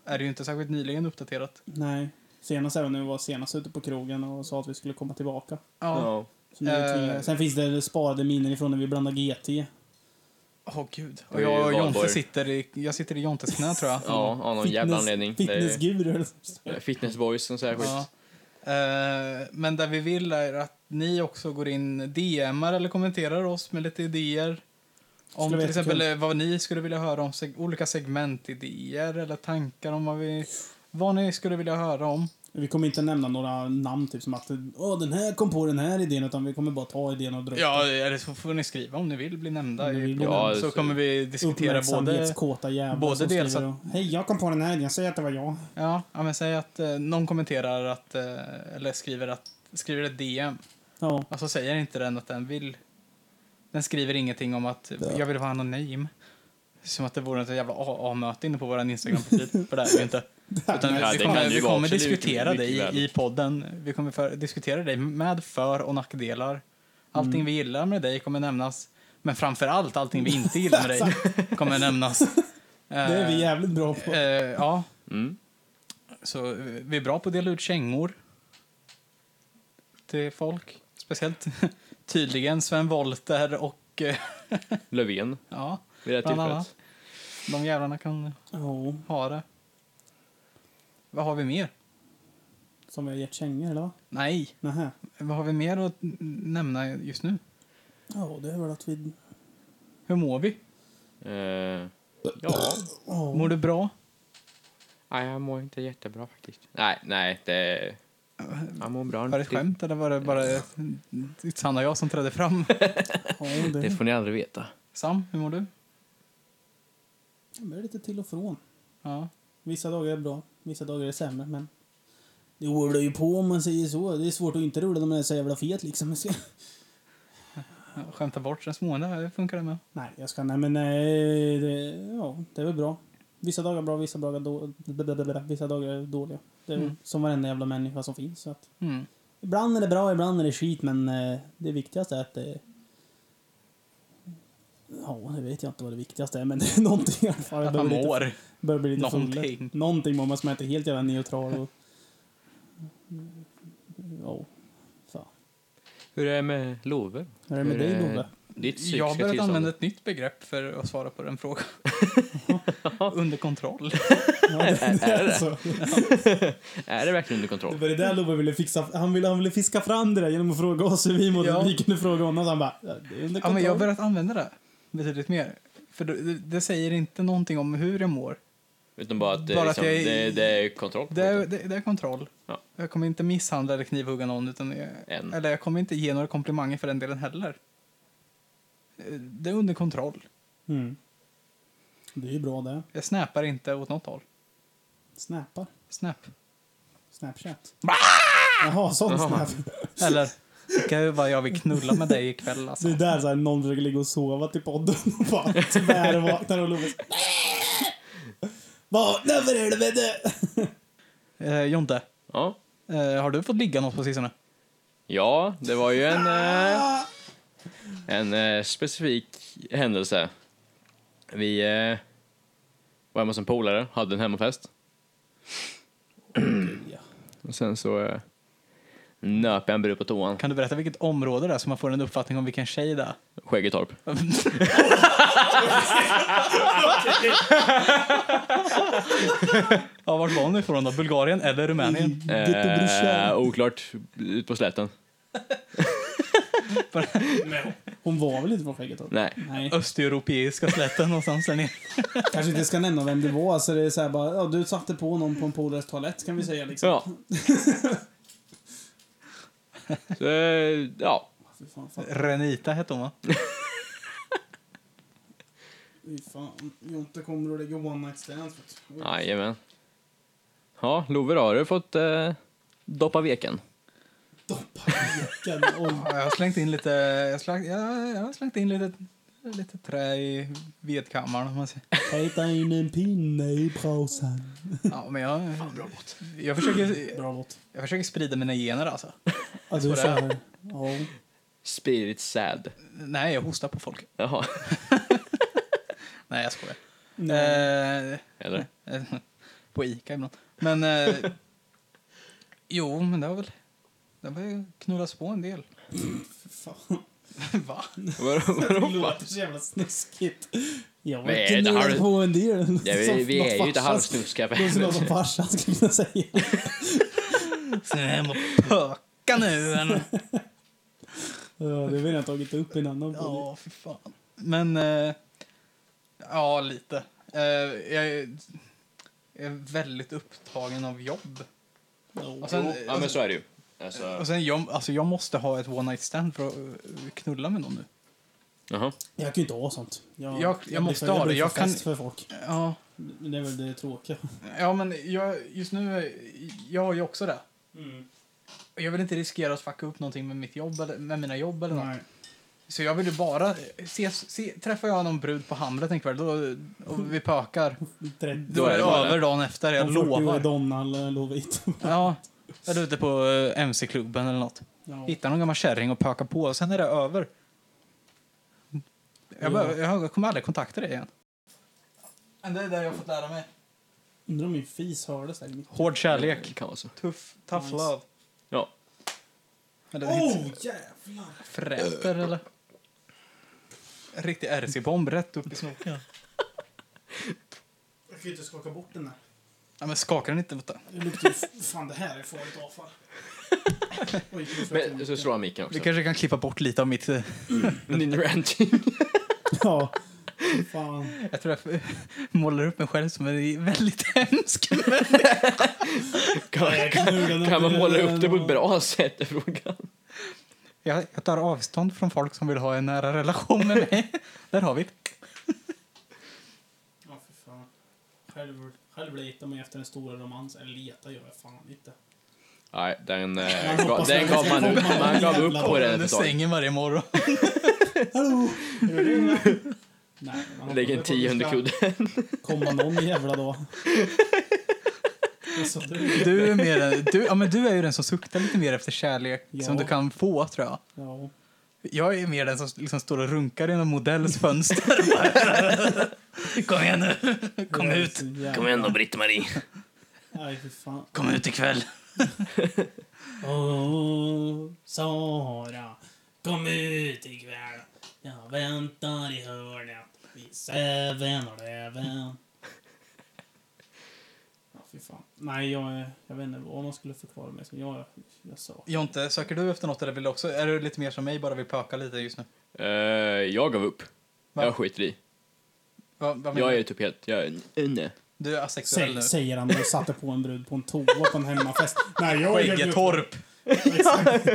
är det ju inte särskilt nyligen uppdaterat. Nej. Senast även när vi var senast ute på krogen och sa att vi skulle komma tillbaka. Ja. Ja. Så nu är vi Eh. tvingade. Sen finns det sparade minnen ifrån när vi blandade GT. Åh gud. Det är Och ju jag och Jonte valborg. sitter i, jag sitter i Jontes knä tror jag. ja, av någon jävla anledning. Det är- eh, Fitnessguru. Fitness boys och så här skit. Ja. Eh, men det vi vill är att ni också går in DMar eller kommenterar oss med lite idéer. Skulle Om till vara exempel jättekul. eh, vad ni skulle vilja höra om seg- olika segmentidéer eller tankar om vad vi... Vad ni skulle vilja höra om. Vi kommer inte nämna några namn, typ som att åh, den här kom på den här idén, utan vi kommer bara ta idén och dra upp Ja, den. eller så får ni skriva om ni vill bli nämnda. Om ni I vill bli podden. nämnda. så Ja, kommer vi diskutera både... Uppmärksamhetskåta jävlar både som dels skriver och, Hej, jag kom på den här idén, säg att det var jag. Ja, ja, men säg att eh, någon kommenterar att... Eh, eller skriver att... Skriver ett DM. Ja. Och så säger inte den att den vill... Den skriver ingenting om att Ja. jag vill vara anonym. Som att det vore ett jävla AA-möte inne på vår Instagram-profil. för det är det ju inte. Utan Ja, vi det kommer, kan ju vi vara kommer absolut diskutera mycket dig väl. i podden. Vi kommer för, diskutera dig med för och nackdelar. Allting Mm. vi gillar med dig kommer nämnas. Men framför allt, allting vi inte gillar med dig kommer nämnas. Eh, Det är vi jävligt bra på. ja, Mm. så vi är bra på att dela ut kängor till folk. Speciellt tydligen Sven Wollter och eh, Löfven ja, vid det här Bland tillfället. de jävlarna kan Ja, ha det. Vad har vi mer? som vi har gett kängor, eller? vad? Nej, Nähä. vad har vi mer att nämna just nu? Ja, det är väl att vi... Hur mår vi? Eh, ja. Ja. Mår du bra? Nej, jag mår inte jättebra faktiskt. Nej, nej, det... Jag mår bra. Var det ett skämt eller var det bara ett- ett Sanna och jag som trädde fram? Ja, det, Det det får ni aldrig veta. Sam, hur mår du? är lite till och från. Ja. Vissa dagar är bra, vissa dagar är sämre, men... Det rullar ju på om man säger så. Det är svårt att inte rulla när man är så jävla fet liksom. Skämta bort den smående, här funkar det med. Nej, jag ska... Nej, men nej, det, ja, det är väl bra. Vissa dagar är bra, vissa dagar, då, vissa dagar är dåliga. Det är väl Mm. som varenda jävla människa som finns. Så att, Mm. ibland är det bra, ibland är det skit, men eh, det viktigaste är att det... Ja, det vet jag inte vad det viktigaste är, men det är någonting i alla fall. Jag Att man börjar lite- mår. Börjar bli lite Någonting. full. Någonting mamma som är inte helt jävla neutral och... Ja. Fan. Hur är det med Love? Hur är det med Hur dig är- Love? Ditt Jag har psykiska börjat tillstånd? använda ett nytt begrepp för att svara på den frågan. Under kontroll. Ja, det, det är så. Är det verkligen under Det kontroll? var det där Love ville fixa. Han ville, han ville fiska fram det där genom att fråga oss hur vi mådde. Ja. Vi kunde fråga honom. Så han bara, "Ja, det är under Ja, men kontroll. jag har börjat använda det betydligt mer. För det, det säger inte någonting om hur jag mår. Utan bara att, det är Bara att liksom, jag är- det, det är kontroll. Det är, det, det är kontroll. Ja. Jag kommer inte misshandla eller knivhugga någon. Utan jag, Än. eller jag kommer inte ge några komplimanger för den delen heller. Eh, Det är under kontroll. Mm. Det är ju bra det. Jag snappar inte åt något håll. Snappar. Snap. Snapchat. Jaha, sån Jaha. snap. Eller, gud vad jag vill knulla med dig ikväll alltså. Det är där så här, någon försöker ligga och sova till podden och bara tyvärr vaknar och Love så- Vakna för helvete! Eh, Jonte, Ja. eh, har du fått ligga något på sistone? ja, det var ju en, eh, en eh, specifik händelse. Vi eh, var hemma hos en polare, hade en hemmafest. ja. Och sen så eh, nöp jag en brud på toan. Kan du berätta vilket område det är så man får en uppfattning om vilken tjej det är? Skäggetorp. Ja, vart var hon ifrån då? Bulgarien eller Rumänien? Eh, oklart, ut på slätten. Hon var väl inte från Skäggetorp? Nej. Mm. Nej. Östeuropeiska slätten någonstans där nere. Kanske inte ska nämna vem det var, så det är så här bara, ja du satte på någon på en polares toalett kan vi säga liksom. Ja. Så, eh, ja. Fy fan, fan. Renita hette hon va? Fy fan. Jonte kommer och lägger one night stands. vet du. Jajamän. Ja, Love då, har du fått eh, doppa veken? Doppa leken. Oj. Ja, jag har slängt in lite, jag har slängt, jag, jag har slängt in lite, lite trä i vedkammaren om man säger. Peta in en pinne i brasan. Ja, men jag, jag, försöker, Bra låt. jag försöker sprida mina gener alltså. Ja, du kör. Ja. Spirit sad. Nej, jag hostar på folk. Jaha. Nej, jag skojar. Nej. Eh, Eller? Eh, På Ica ibland. Men... Eh, jo, men det har väl... Det har väl knullats på en del. Fy fan. Va? Vadå, Det vadå, fan? låter så jävla snuskigt. Jag Men var är det knullat halv- på en del. Ja, vi, vi är ju inte halvsnuskiga för halvsnuskiga. Något som helvete. farsan skulle kunna säga. Sen är jag hemma och pöka nu. Ja, Det vill jag ha tagit upp i en annan podd. fy fan. men... eh, ja, lite. Eh, jag är- jag är väldigt upptagen av jobb. Ja. Och sen, Ja, men så är det ju. Alltså, och sen jag, alltså jag måste ha ett one night stand för att eh, knulla med någon nu. jaha. Jag kan ju inte ha sånt. Jag, Jag- jag blir måste för, ha jag det. blir Jag för fest kan- för folk. Ja, Det är väl det tråkiga. ja men jag, just nu, eh, jag har ju också det. Och Jag vill inte riskera att fucka upp någonting med mitt jobb eller med mina jobb eller något. Nej. Så jag vill ju bara, eh, se, se, träffar jag någon brud på Hamlet en kväll då, och vi pökar, Trettio. då är det över dagen efter, jag Om 40 är lovar. Donald eh, eller Lovit. Ja, eller ute på eh, MC-klubben eller något. Ja. Hittar någon gammal kärring och pökar på och sen är det över. Jag, bara, jag kommer aldrig kontakta dig igen. Men det är det jag har fått lära mig. Undrar om min fis hördes där. i mitt- Hård Det kärlek. kan vara så. Tuff, tough Nice. love. Ja. Eller Oh, jävlar! fräter eller? En riktig RC-bomb rätt upp i snoken. Jag kan ju inte skaka bort den där. Ja, men skakar den inte? Vänta. Det luktar ju... f- Fan, det här är farligt avfall. Oj, Men så slår han micken Vi också. kanske kan klippa bort lite av mitt... eh, Din ranting. Ja. Fan. Jag tror jag målar upp mig själv som en väldigt hemsk Kan, Kan, kan man måla upp det på ett bra sätt är frågan. Jag, jag tar avstånd från folk som vill ha en nära relation med mig. Där har vi Ja, för fan. Själv, själv letar man ju efter den stora romansen. Eller letar gör jag fan inte. Nej, den, Man eh, gav, hoppas den att gav det man ska upp. komma Man någon gav upp jävla på den under ett tag. sängen varje morgon. Hallå! Nej, man hoppas Lägg på en att det 10 ska under kudden. Komma någon jävla dag. Det är så dumt. Du är, mer en, du, ja, men du är ju den som suktar lite mer efter kärlek Ja. som du kan få, tror jag. Ja. Jag är mer den som liksom står och runkar genom modells fönster. Kom igen nu. Kom Det är ut. så jävla- igen då, Britt-Marie. Nej, för fan. Kom ut ikväll. Åh, Oh, Sara, kom ut ikväll. Jag väntar i hörnet vid Säven och Löven. Ja, fy fan. Nej, jag, är- jag vet inte vad man skulle förklara mig som. Jag, jag sa. Jonte, söker du efter något eller vill du också? Är du lite mer som mig, bara vill pöka lite just nu? Eh, jag gav upp. Va? Jag skiter i. Vad, vad menar Jag du? är typ helt... Jag är, nej. Du är asexuell nu. Sä, säger han och satte på en brud på en toa på en hemmafest. Nej, jag är helt Skäggetorp. Exakt.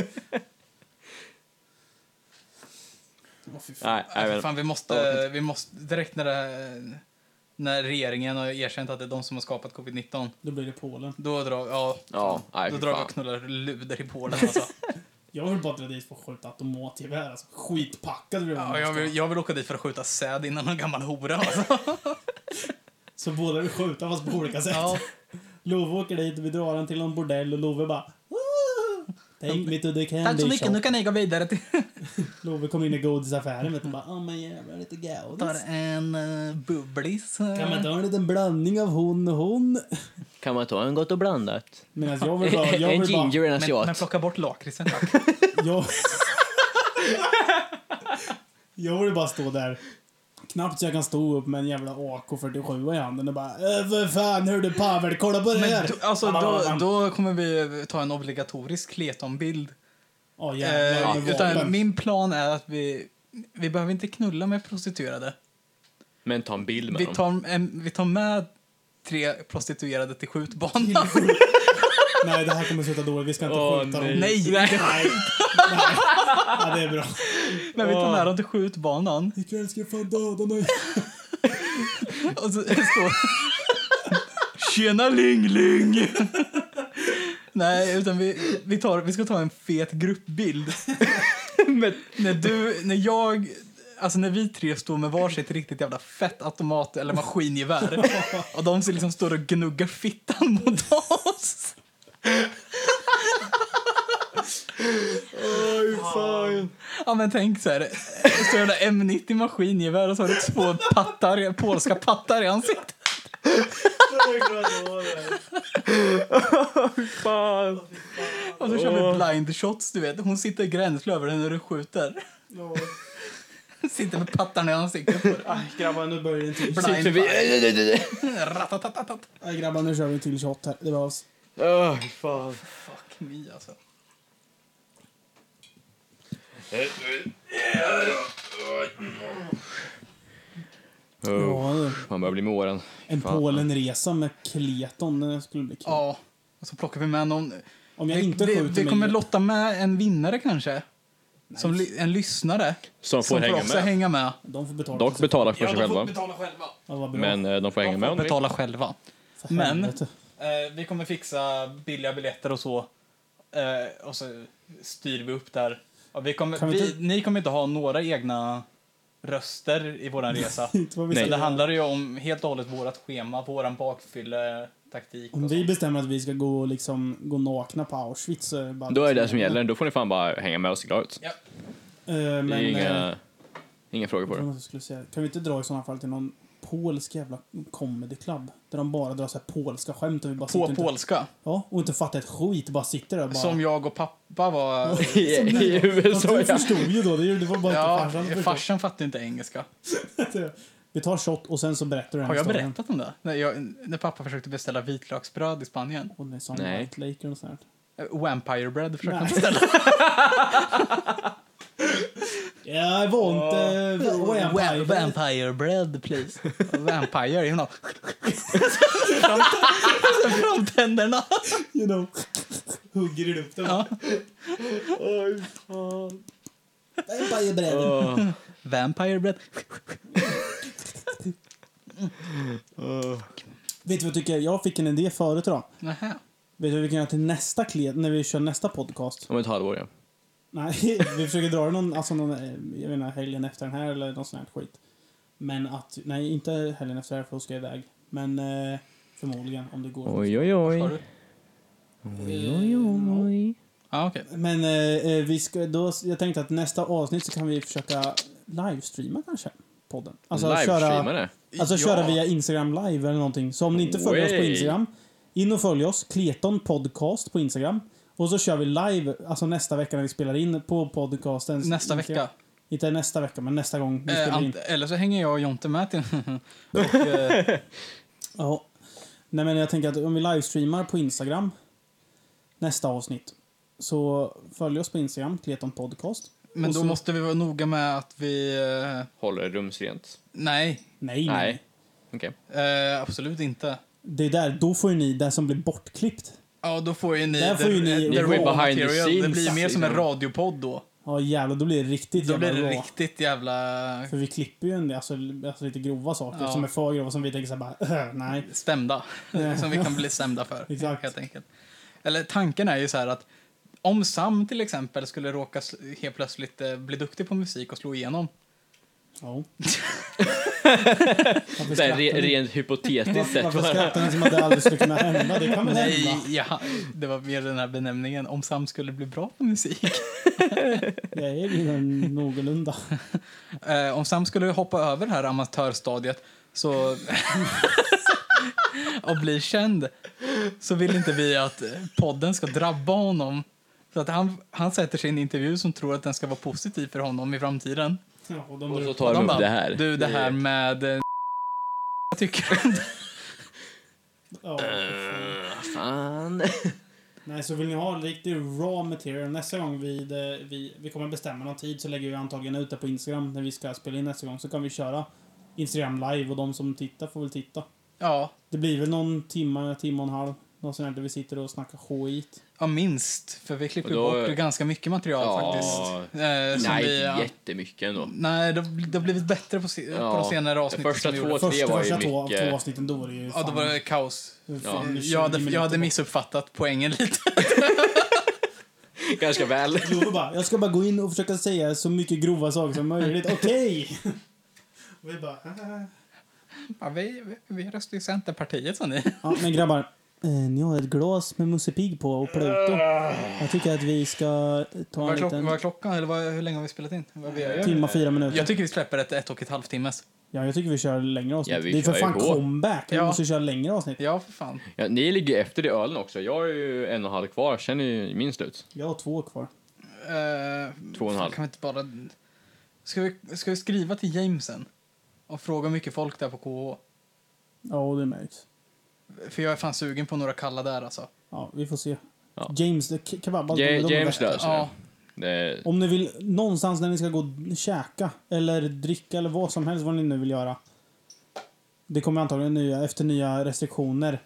Åh, fy fan. Nej, jag vet inte. Fan, vi måste, vi måste direkt när, det, när regeringen har erkänt att det är de som har skapat covid-19, Då blir det Polen. då drar, ja, Ja, nej, då fy drar vi fan. och knullar luder i Polen. Alltså. Jag vill bara dra dit för att skjuta automatgevär. Alltså, skitpackad blir man. Ja, jag, vill, jag vill åka dit för att skjuta säd innan någon gammal hora. Alltså. Så båda vill skjuta fast på olika sätt. Ja, Love åker dit, vi drar han till någon bordell och Love bara "Woo! Take me to the tack candy så mycket, shop. nu kan ni gå vidare till... Love kom in i godisaffären vet du bara åh men jävlar lite Tar godis. en eh, bubblis. Kan man ta en liten blandning av hon och hon? Kan man ta en gott och blandat? Medan jag vill bara, jag en vill bara, ginger och en men, men asiat. plocka bort lakritsen, tack. jag... jag vill bara stå där. Knappt så jag kan stå upp med en jävla AK47 i handen och bara "Äh, vad fan hör du Pavel, kolla på det Men, här! då- alltså, Han bara, då, "Vad fan?" då kommer vi ta en obligatorisk kletonbild. Ja, jävlar, Eh, med utan vapen. min plan är att vi, vi behöver inte knulla med prostituerade. Men ta en bild med Vi dem. tar, en, vi tar med tre prostituerade till skjutbanan. Nej, det här kommer sluta dåligt. Vi ska inte Åh, skjuta nej. dem. Nej, Nej. Nej. Ja, det är bra. men vi tar med dem till skjutbanan. Ikväll ska jag fan döda mig. Och så står... Tjena Ling Ling! Nej, utan vi, vi, tar, vi ska ta en fet gruppbild. när du, när jag, alltså när vi tre står med varsitt riktigt jävla fett automat eller maskingevär och de ser liksom står och gnuggar fittan mot oss. Ja men tänk så här, så jävla M90 maskingevär och så har du två pattar, polska pattar i ansiktet. Fan. Och så kör vi blind shots, du vet. Hon sitter gränslös över dig när du skjuter. Sitter med pattarna i ansiktet på dig. Aj, grabbar, nu börjar det en till. Blind Sitter vi... Ratatatatat. Aj, grabbar, nu kör vi en till shot här. Det behövs. Åh, fan. Fuck me alltså. Oh, Ja, man börjar bli med åren. en Fan. Polenresa med Kleton eh, skulle bli kul. Ja, och så plockar vi med någon. Om jag Vi, inte vi, skjuter vi kommer mig... lotta med en vinnare kanske. Som li, en lyssnare. Som får hänga också med. hänga med. De får betala. Dock sig. betala för sig själva. betala själva. Ja, vad bra. Men eh, de får hänga med om de vill. Betala själva. För men- helvete. Eh, vi kommer fixa billiga biljetter och så. Eh, och så styr vi upp där. Ja, vi kommer, Kan vi vi inte- Ni kommer inte ha några egna röster i vår resa. Inte vad vi Nej. Så det säger. handlar ju om helt och hållet vårt schema, våran bakfylletaktik. Om och vi sånt. bestämmer att vi ska gå, och liksom, gå nakna på Auschwitz så är det bara... Då är det det som gäller. Då får ni fan bara hänga med och se glada ut. Ja. Eh, men, Det är eh, inga, inga frågor på vad det. var det jag skulle säga? Kan vi inte dra i sådana fall till någon polsk jävla comedy club? Där de bara drar så här polska skämt och vi bara sitter På inte- polska. Ja, och inte fattar ett skit. Bara sitter där och bara... Som jag och pappa var... I, i Fast USA, Du ja. förstod ju då. Det gjorde- det var bara Ja, inte farsan som förstod. farsan fattar inte engelska. Vi tar shot och sen så berättar du den Har här jag historien. berättat om det? När, jag, när pappa försökte beställa vitlöksbröd i Spanien. Och det är sån Nej. White Lake och sånt här. Eh, Vampire bread försökte han Nej. beställa. Jag var inte... Vampire. vampire bread please. Vampire, you know. Framtänderna. Framtänderna. You know. Hugger i luften. Ja. Vampire bread. Åh, Vampire bread. Vet du vad jag tycker? Jag fick en idé förut idag. Nähä. Vet du vad vi kan göra till nästa kled, när vi kör nästa podcast? Om ett halvår, ja. Nej, vi försöker dra det någon, alltså någon, eh, jag menar helgen efter den här eller något sånt här skit. Men att, nej inte helgen efter det här för då ska jag iväg. Men eh, förmodligen om det går. Eh, Oj, oj, oj. Har du? Ja, okej. Men eh, eh, vi ska, då, jag tänkte att nästa avsnitt så kan vi försöka livestreama kanske podden. Alltså Livestreama köra, det. alltså Ja. köra via Instagram live eller någonting. Så om ni inte följer oss på Way. Instagram, in och följ oss, Kleton Podcast på Instagram. Och så kör vi live, alltså nästa vecka när vi spelar in på podcasten. Nästa vecka. Inte nästa vecka, men nästa gång vi Eh, spelar in. ant- eller så hänger jag och Jonte med till... och, eh, Ja. Nej men jag tänker att om vi livestreamar på Instagram nästa avsnitt. Så följ oss på Instagram, Kleton Podcast. men Och då så- måste vi vara noga med att vi... eh, Håller rumsrent. nej, Nej, nej. Nej. nej. Okej. eh, absolut inte. Det är där, då får ju ni det som blir bortklippt. Ja, då får ju ni... Där the- får ju ni- the Ni får ju raw behind the material. Det scenes, blir mer som en liksom. radiopodd då. Ja jävlar, då blir det riktigt Då blir det raw. riktigt jävla För vi klipper ju en del, alltså, alltså lite grova saker Ja. som är för grova som vi tänker såhär bara, "Äh, nej. stämda. som vi kan bli stämda för. Exakt. Helt enkelt. Eller tanken är ju så här att om Sam till exempel skulle råka s- helt plötsligt eh, bli duktig på musik och slå igenom. Ja. Så Varför här, skrattar re, ni? rent hypotetiskt Varför sett. varför bara. skrattar ni som att det aldrig skulle kunna hända? Det kan väl Nej, hända? ja, det var mer den här benämningen. Om Sam skulle bli bra på musik. Jag är redan någorlunda. Eh, om Sam skulle hoppa över det här amatörstadiet så... och bli känd så vill inte vi att eh, podden ska drabba honom. Så att han, han sätter sig i en intervju som tror att den ska vara positiv för honom i framtiden. Ja, och de Och så drar- tar Och de de upp bara, det här. Du, det här med... eh, Jag tycker om det. ja, Eh, fan. Nej, så vill ni ha riktigt raw material nästa gång vi, det- vi, vi kommer bestämma någon tid så lägger vi antagligen ut det på Instagram när vi ska spela in nästa gång så kan vi köra Instagram live och de som tittar får väl titta. Ja, Det blir väl någon timme, timme och en halv. Något sånt här där vi sitter och snackar skit. ja, minst. För vi klipper Och då- bort ganska mycket material Ja. faktiskt. Eh, som Nej, vi, inte ja. jättemycket ändå. Nej, det, det har blivit bättre på, se, på Ja. de senare avsnitten Första som vi två, gjorde. tre Första, var ju första två, mycket- två avsnitten, då var det ju Ja, då var det kaos. Mm, fan- ja. fan, Jag hade, 20 jag hade minuter. missuppfattat poängen lite. Ganska väl. Glover bara, jag ska bara gå in och försöka säga så mycket grova saker som möjligt. Okej! Och vi bara, "Ah." Ja, vi, vi, vi röstar ju Centerpartiet, sa ni. Ja, men grabbar. Eh, ni har ett glas med Musse Pigg på och Pluto. Jag tycker att vi ska ta Vad en är, klock, vad är liten klockan? Eller vad, hur länge har vi spelat in? Vad vi gör? timma, fyra minuter. Jag tycker vi släpper ett ett och ett halvt timmes. ja, jag tycker vi kör längre avsnitt. Ja, vi det är för kör ju fan på. comeback. Vi Ja. måste köra längre avsnitt. Ja, för fan. Ja, ni ligger efter i ölen också. Jag har ju en och en halv kvar, sen är ju min slut. Jag har två kvar. Eh, Två och en fan, halv. Kan vi inte bara... Ska vi, ska vi skriva till Jamesen och fråga hur mycket folk det är på KH? Ja, det märks. För jag är fan sugen på några kalla där alltså. Ja, vi får se. Ja. James, eh, det- K- Kebabba. Ja, de- de är James bästa. löser det. Ja, Det är, Om ni vill någonstans när ni ska gå och käka eller dricka eller vad som helst vad ni nu vill göra. Det kommer antagligen nya, efter nya restriktioner.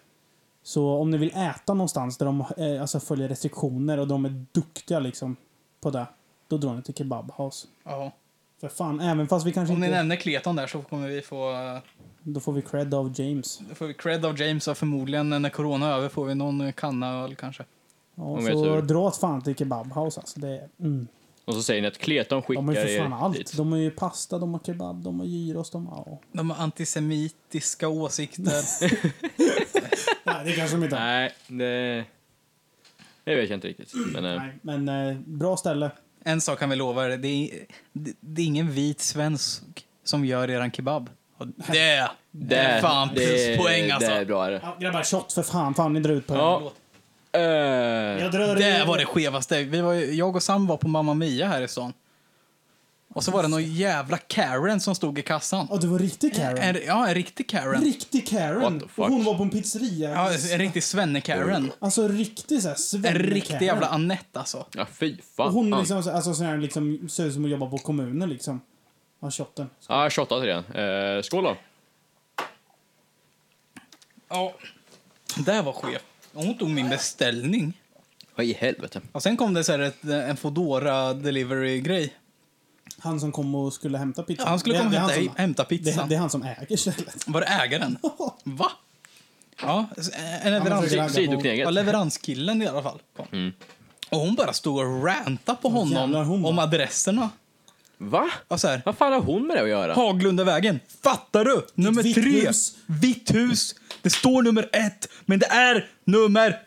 Så om ni vill äta någonstans där de eh, alltså följer restriktioner och de är duktiga liksom på det. Då drar ni till Kebab House. Ja. För fan, även fast vi kanske Om ni inte... nämner Kleton där så kommer vi få... eh, Då får vi cred av James. Då får vi cred av James och förmodligen eh, när corona är över får vi någon eh, kanna öl kanske. Ja, Om vi har så tur. dra åt fan till Kebab House alltså. Det är, mm. och så säger ni att Kleton skickar De har ju för fan er allt. dit. De har ju pasta, de har kebab, de har gyros, de har... Ja. De har antisemitiska åsikter. Nej, det kanske de inte har. Nej, det... Det vet jag inte riktigt. Men, eh, Nej, men eh, bra ställe. en sak kan vi lova er, det är, det, det är ingen vit svensk som gör eran kebab. Och det, det är fan pluspoäng alltså. Det är Det, bra det. Ja, grabbar, shot för fan. Fan, ni drar ut på Ja. Eh, det. Jag drar i- var det skevaste. Vi var, ju- jag och Sam var på Mamma Mia här i stan. Och så var det någon jävla Karen som stod i kassan. Ja, det var riktig Karen. En, ja, en riktig Karen. Riktig What Karen. the Och fuck? hon var på en pizzeria. Ja, en riktig svenne-Karen. Alltså riktig såhär En svenne riktig jävla Annette alltså. ja, fy Och fan. hon liksom, så- alltså sån här liksom, ser ut som att jobba på kommunen liksom. Ja, shotten. Ja, jag shottar till den. Eh, skål då. Ja. Det var skev. Och Hon tog min beställning. Vad i helvete. Och sen kom det så här ett, en Foodora delivery grej Han som kom och skulle hämta pizzan. Ja, han skulle Det- komma det är och hämta, som- hämta Det, pizzan. det är han som äger stället. Var det ägaren? Va? Ja, en men leverans, försöker Si- ragga på- ja, Sidokneget. leveranskillen i alla fall. Kom. Och hon bara stod och rantade på honom jävlar, hon om bara- adresserna. Va? Och så här, Vad fan har hon med det att göra? Haglundavägen, fattar du? Nummer vitt tre, hus. vitt hus. Det står nummer ett, men det är nummer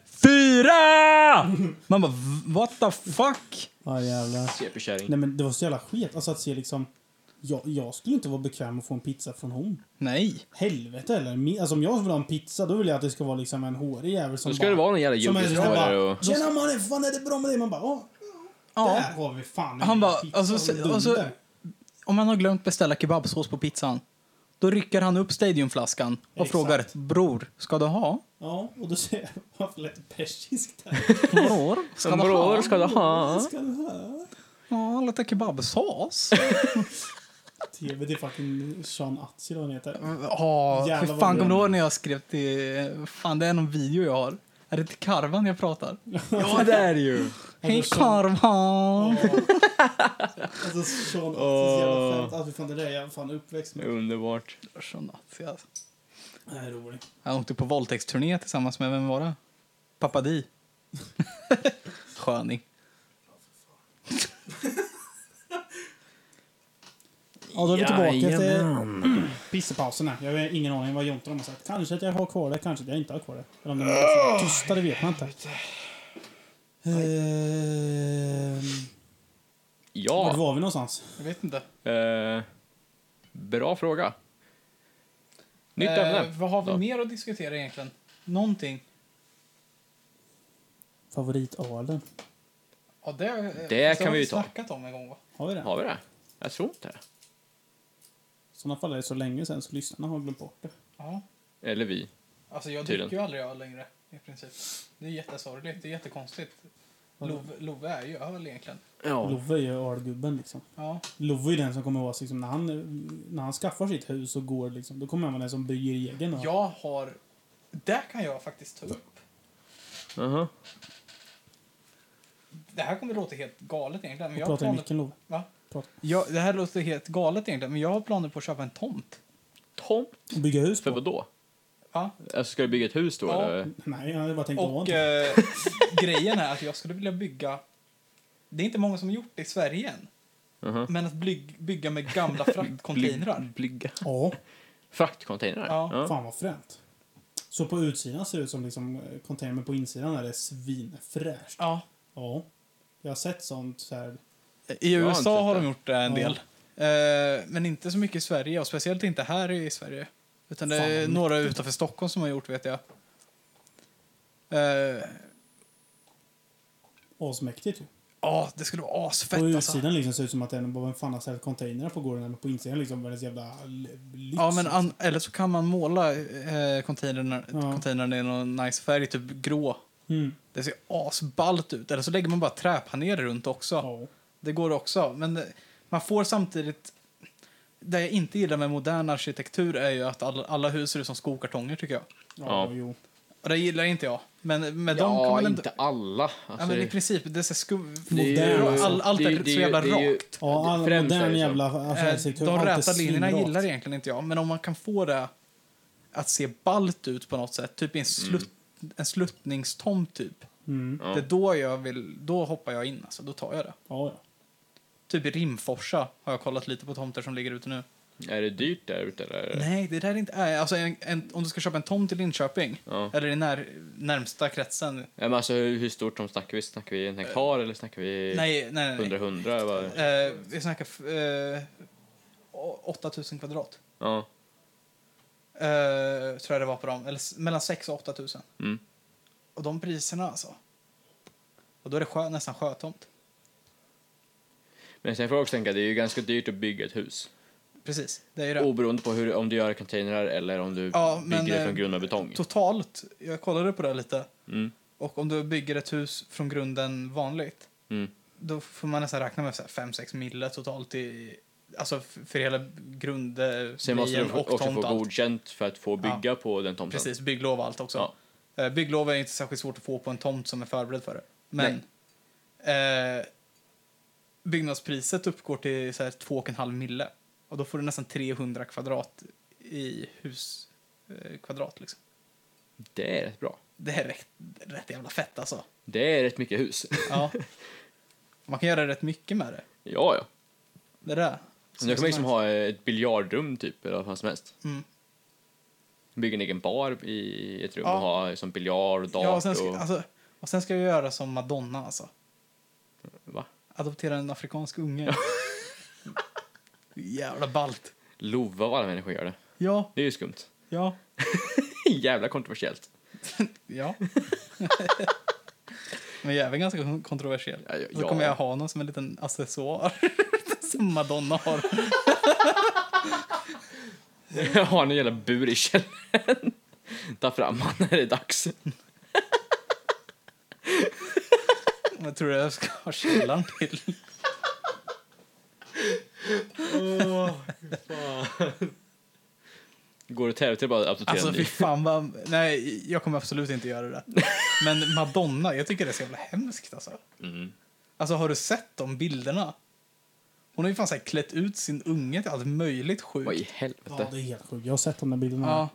fyra! Man bara, what the fuck? Ja, jävlar. CP-kärring. Nej, men det var så jävla sket. Alltså att se liksom... Jag, jag skulle inte vara bekväm att få en pizza från hon. Nej. Helvete eller? Min- Alltså om jag vill ha en pizza då vill jag att det ska vara liksom en hårig jävel som Då ska det vara någon jävla som en som juggiskårare bara, och... Tjena mannen, fan är det bra med dig? Man bara, åh, Ja. där har vi fan en Han bara, pizza alltså, och se- dunder." alltså- Om han har glömt beställa kebabsås på pizzan, då rycker han upp stadionflaskan och Exakt. frågar bror, ska du ha? Ja, och då säger jag, varför lät det persiskt där? Bror, ska du ha? Bror, ska du ha? Ska du ha? Ja, lite kebabsås. TV, det är fucking Sean Atzi då han heter. Ja, Jävlar fy vad fan bra. kommer du ihåg när jag skrev till... Fan, det är någon video jag har. Är det till Karvan jag pratar? Ja, det är det ju. Hej så- Karvan! Alltså Sean Atzis jävla skämt. Alltså fan det där är jag fan uppväxt med. Underbart. Så nazi, alltså. Det här är roligt. Han åkte på våldtäktsturné tillsammans med, vem var det? Papadi. Sköning. Ja, då är vi tillbaka till Jajamän. pissepausen här. Jag har ingen aning vad Jonte har sagt. Kanske att jag har kvar det, kanske att jag inte har kvar det. Eller om de är tysta, det vet man inte. Ehm, Vart Ja. var vi någonstans? Jag vet inte. Eh, bra fråga. Nytt ämne. Eh, vad har vi Ja. mer att diskutera egentligen? Någonting. Favoritölen. Ja, det, eh, fast kan har vi ju ta. snackat om en gång, va? Har vi det? Har vi det? Jag tror inte det. I sådana fall är det så länge sen så lyssnarna har glömt bort det. Ja. Eller vi. Alltså, jag Tydligen. dricker ju aldrig öl längre, i princip. Det är jättesorgligt. Det är jättekonstigt. Love, Love är ju öl egentligen. Ja. Love är ju ölgubben liksom. Ja. Love är den som kommer ihåg liksom, när, han, när han skaffar sitt hus och går liksom, då kommer han vara den som bygger egen öl. Jag har... Det kan jag faktiskt ta upp. Aha. Det här kommer låta helt galet egentligen. Men Och jag har pratar i planer... micken Love. Va? Prata. Jag, det här låter helt galet egentligen, men jag har planer på att köpa en tomt. Tom. Och bygga hus För på. vad då? Va? Alltså, ska du bygga ett hus då? Ja. Eller? Nej, jag hade bara tänkt Och att eh, grejen är att jag skulle vilja bygga... Det är inte många som har gjort det i Sverige än. Mhm. Men att blyg, bygga med gamla fraktcontainrar. Blygga. Ja, Fraktcontainrar? Ja, fan vad fränt. Så på utsidan ser det ut som liksom eh, container, men på insidan är det svinfräscht. Ja. Ja. Jag har sett sånt så här. I Jag har inte USA sett har de det. gjort det en Ja. del. Eh, men inte så mycket i Sverige, och speciellt inte här i Sverige. Utan det är Fan, några utanför Stockholm som har gjort, vet jag. Eh, Asmäktigt ju. Ja, det skulle vara asfett på alltså. utsidan liksom ser det ut som att det är någon- vem fan har ställt containrar på gården, men på insidan liksom världens jävla l- lyx. Ja, men an- eller så kan man måla eh, containern, Ja. containern i någon nice färg, typ grå. Mm. Det ser asballt ut. Eller så lägger man bara träpaneler runt också. Ja. Det går också. Men eh, man får samtidigt... Det jag inte gillar med modern arkitektur är ju att alla, alla hus ser ut som skokartonger tycker jag. Ja, Ja. jo. Och det gillar inte jag. Men med dem kan Ja, man ändå... inte alla. Ja, Alltså, men i det- princip, det ser skum... Det är ju- All- Allt, det- är det- så jävla det är ju- rakt. Ja, all Främst liksom. är det modern så. jävla Eh, affärsarkitektur. De allt är räta linjerna svinrakt. gillar egentligen inte jag, men om man kan få det att se ballt ut på något sätt, Mm. typ i en, slut, en sluttningstomt typ. Mm. Ja. Det är då jag vill, då hoppar jag in alltså, då tar jag det. Ja, ja. Typ i Rimforsa har jag kollat lite på tomter som ligger ute nu. Är det dyrt där ute eller? Nej, det där är inte, nej, alltså en, en, om du ska köpa en tomt i Linköping, Ja. eller i när, närmsta kretsen, Ja, men alltså, hur, hur stort som snackar vi? Snackar vi en hektar eller snackar vi nej, nej, nej. nej. 100-100? Vad- Eh, vi snackar eh, 8000 kvadrat. Ja. Eh, tror jag det var på dem. Eller, s- mellan 6 och 8 tusen. Mm. Och de priserna alltså. Och då är det sjö, nästan sjötomt. Men sen får jag också tänka, det är ju ganska dyrt att bygga ett hus. Precis, det är ju det. Oberoende på hur, om du gör containrar eller om du Ja, bygger men, det eh, från grund av betong. Totalt, jag kollade på det lite. Mm. Och om du bygger ett hus från grunden vanligt. Mm. Då får man nästan räkna med 5-6 mille totalt i... Alltså f- för hela grund... eh, Sen måste du grejen och också tomt få och allt. godkänt för att få bygga på den tomten. Precis, bygglov och allt också. Eh, Bygglov är inte särskilt svårt att få på en tomt som är förberedd för det. Men eh, byggnadspriset uppgår till så här 2,5 mille. Och då får du nästan 300 kvadrat i hus eh, kvadrat liksom. Det är rätt bra. Det är rätt, rätt jävla fett alltså. Det är rätt mycket hus. Ja. Man kan göra rätt mycket med det. ja, ja. Det där. Nu kan man liksom ha ett biljardrum typ, eller vad fan som helst. Mm. Bygga en egen bar i ett rum Ja. och ha som biljard och dart Ja, och, sen ska, och... alltså, och sen ska jag göra som Madonna alltså. Va? Adoptera en afrikansk unge. jävla ballt. Lova vad alla människor gör det. Ja, Det är ju skumt. ja, Jävla kontroversiellt. ja. Men jag är väl ganska kon- kontroversiell. Ja, ja, Då ja. kommer jag ha någon som en liten accessoar. som Madonna har. Jag har en jävla bur i källaren. Ta fram han när det är dags. Jag tror jag ska ha källan till. Går och tävlar till bara att adoptera Alltså en fy ny. fan vad... Nej, jag kommer absolut inte göra det. Men Madonna, jag tycker det är så jävla hemskt alltså. Mm. Alltså har du sett de bilderna? Hon har ju fan så här klätt ut sin unge till allt möjligt sjukt. Vad i Ja, helvete? det är helt sjukt. Jag har sett de där bilderna. Ja,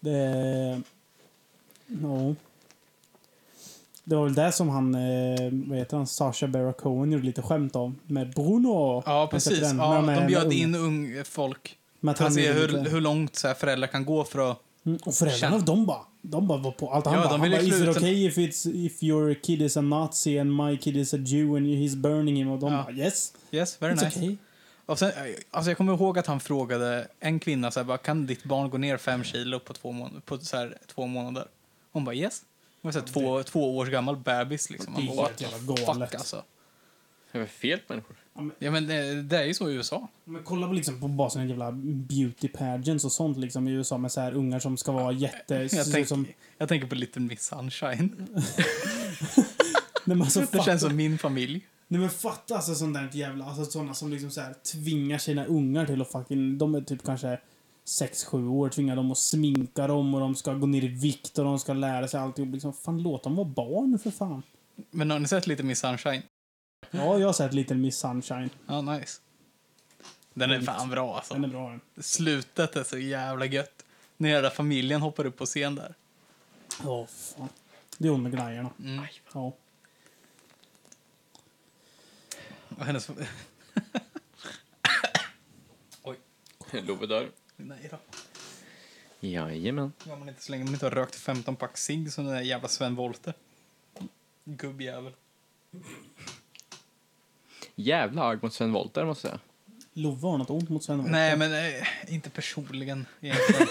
Det är... Ja. Det var väl det som han, eh, vad heter han, Sasha Baron Cohen gjorde lite skämt om. Med Bruno. ja Har du sett precis. den? Ja, När är- de bjöd när- in ung folk. med att För han att se gjorde hur, lite- hur långt så här föräldrar kan gå för att... Mm, och föräldrarna, Känn- de bara, de bara var på allt. Han Ja, bara, de han ville bara is klura it ut en- okay if, it's, if your kid is a nazi and my kid is a jew and he's burning him? Och de Ja. bara, yes, Yes, very it's nice. okay. Och sen, alltså jag kommer ihåg att han frågade en kvinna så här, bara, kan ditt barn gå ner fem kilo på två, mån- på så här, två månader? Hon bara yes. Hon var så här, två, två års gammal bebis liksom. Man Det är bara, helt jävla "What the galet." Fuck alltså. Det är fel på människor. Ja men det, det är ju så i USA. Men kolla på, liksom, på bara såna jävla beauty pageants och sånt liksom i USA med så här ungar som ska vara jätte... Jag, tänk, som, jag tänker på Little Miss Sunshine. Mm. nej, men alltså, det fatta, känns som min familj. nej men fatta alltså sånt där jävla... Alltså såna som liksom så här tvingar sina ungar till att fucking... De är typ kanske 6-7 år, tvingar dem att sminka dem och de ska gå ner i vikt och de ska lära sig alltihop. Liksom, fan låt dem vara barn för fan. Men har ni sett Little Miss Sunshine? Ja, jag har sett Little Miss Sunshine. Ja, nice. Den är fan bra alltså. Den är bra den. Slutet är så jävla gött. När hela familjen hoppar upp på scen där. Ja, fan. Det är hon med glajjorna. Mm. Ja. Och hennes... Love dör. Nej då. Jajamän. Ja, men inte så länge man inte har rökt 15 pack cigg som den där jävla Sven Wollter. Gubbjävel. Jävla arg mot Sven Wollter måste jag säga. Lova har något ont mot Sven Nej, men eh, inte personligen egentligen.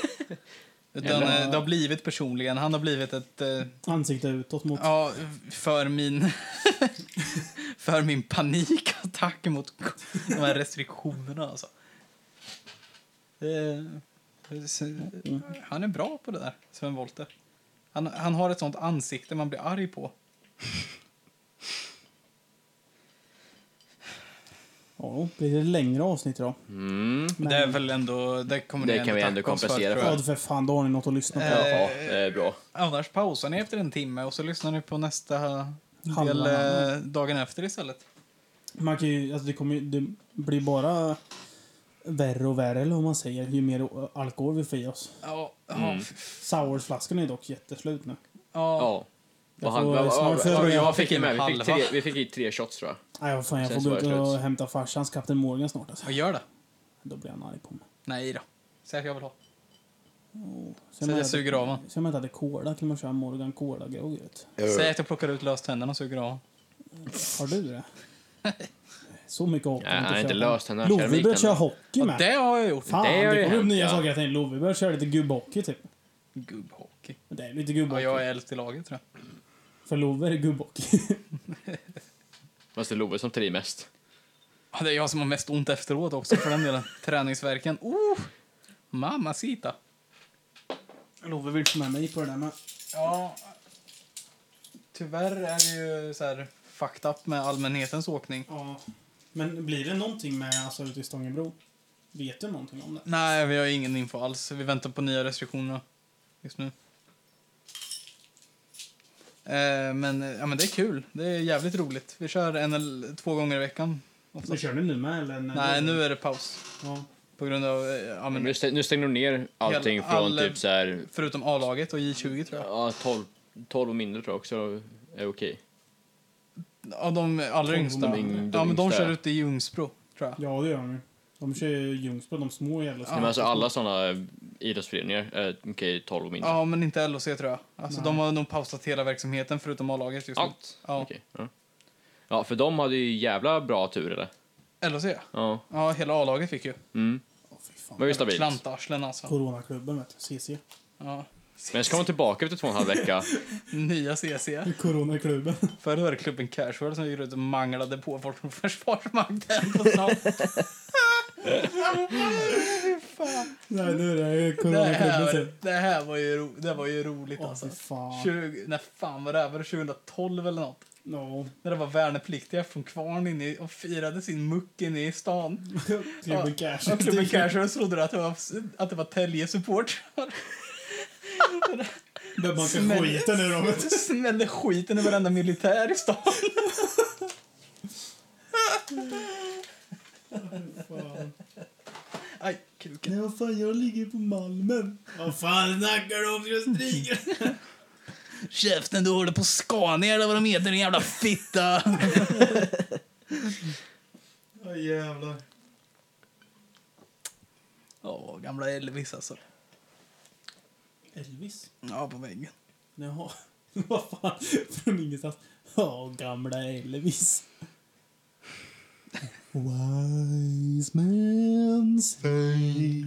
Utan Eller- eh, det har blivit personligen. Han har blivit ett... Eh, Ansikte utåt mot... ja, för min... för min panikattack mot de här restriktionerna alltså. Mm. Eh, s- Han är bra på det där, Sven Wollter. Han, han har ett sånt ansikte man blir arg på. Ja, blir det längre avsnitt idag? Mm. Men- Det är väl ändå... Det, kommer ni Det kan vi ändå tacka oss kompensera tror Ja, jag. för fan, då har ni något att lyssna på. Eh, Ja, det är bra. Annars pausar ni efter en timme och så lyssnar ni på nästa del Handlarna. eh, dagen efter istället. Man kan ju, alltså det, kommer, ju- det blir bara värre och värre, eller vad man säger, ju mer o- alkohol vi får i oss. Ja, ja, f- Sourflaskan är dock jätteslut nu. Mm. ja. Ja. Jag Vad han, får vad, vad, snart vad, för- vad, jag vad fick fick vi in med? Vi fick, tre, halva. vi fick i tre shots tror jag. Nej, vad fan, jag Sen får gå så ut var det och slut. hämta farsans Kapten Morgan snart. Alltså. Vad gör det? Då blir han arg på mig. Nej då. Säg att jag vill ha. Sen Säg att jag suger av honom. Sen man inte hade cola kan man köra Morgan Cola-grogg. vet du. Säg att jag plockar ut löständerna och suger av honom. Har du det? Så mycket hockey. Nej, han är inte löst, han har Love kört började liknande. köra hockey med. Och det har jag gjort. Fan, det har det, ju kom upp hänt, nya ja. saker jag tänkte. Love började köra lite gubbhockey typ. Gubbhockey. Men Det är lite Ja, gubbhockey. jag är äldst i laget tror jag. För Love är det gubbhockey. Fast det är Love som tar i mest. Ja, det är jag som har mest ont efteråt också för den delen. Träningsverken. Oh! Mamacita. Love vill få med mig på det där med. Ja, tyvärr är det ju så här fucked up med allmänhetens åkning. Ja. Men blir det någonting med alltså ute i Stångebro? Vet du någonting om det? Nej, vi har ingen info alls. Vi väntar på nya restriktioner just nu. Eh, men, eh, ja, men det är kul. Det är jävligt roligt. Vi kör en eller två gånger i veckan. Men Oftast. Alltså, kör du nu med eller? när Nej, du- nu är det paus. Ja. På grund av, eh, ja, Men nu, men, stä- nu stänger de ner allting Hela- från all- typ så här, förutom A-laget och J20 tror jag. ja, 12, 12 och mindre tror jag också är okej. Ja, de allra yngsta. de yng- de ja, men de yngsta. kör ute i Ljungsbro, tror jag. Ja, det gör de ju. De kör ju Ljungsbro, de små jävla Nej, Men alltså alla sådana idrottsföreningar är okej 12 och mindre. Ja, men inte LOC tror jag. Alltså, Nej. de har nog pausat hela verksamheten förutom A-laget just nu. Allt? Ja. Okej. Ja. ja, för de hade ju jävla bra tur eller? LOC, ja. Ja. Ja, hela A-laget fick ju. Mm. Åh, fy fan. Var ju stabilt. Klantarslen alltså. Coronaklubben vet du, CC. Ja. Men ska man tillbaka efter två och en halv vecka? Nya CC. Coronaklubben. Förr var det klubben Casual som gick runt och manglade på folk från Försvarsmakten på stan. Nej, nu är det det, coronaklubben här, sen. det, här var ju ro, det var ju roligt typ. Åh, alltså. fy fan. 20, när fan var det? här? Var det 2012 eller något? No. När det var värnpliktiga från Kvarn inne i- och firade sin muck inne i stan. Klubben Cash. Och klubben Casual trodde att det var, att det var Tälje-support. Behöver man inte skiten nu då. Smällde skiten i varenda militär i stan. Aj, kuken. Nej, vad fan, jag ligger på Malmen. Vad fan snackar du om? Jag stryker. Käften, du håller på Scania eller vad de heter, din jävla fitta. Åh, jävlar. Åh, gamla Elvis alltså. Elvis? Ja, på väggen. Jaha. Vad fan, från ingenstans. Ja, gamla Elvis. Wise men say.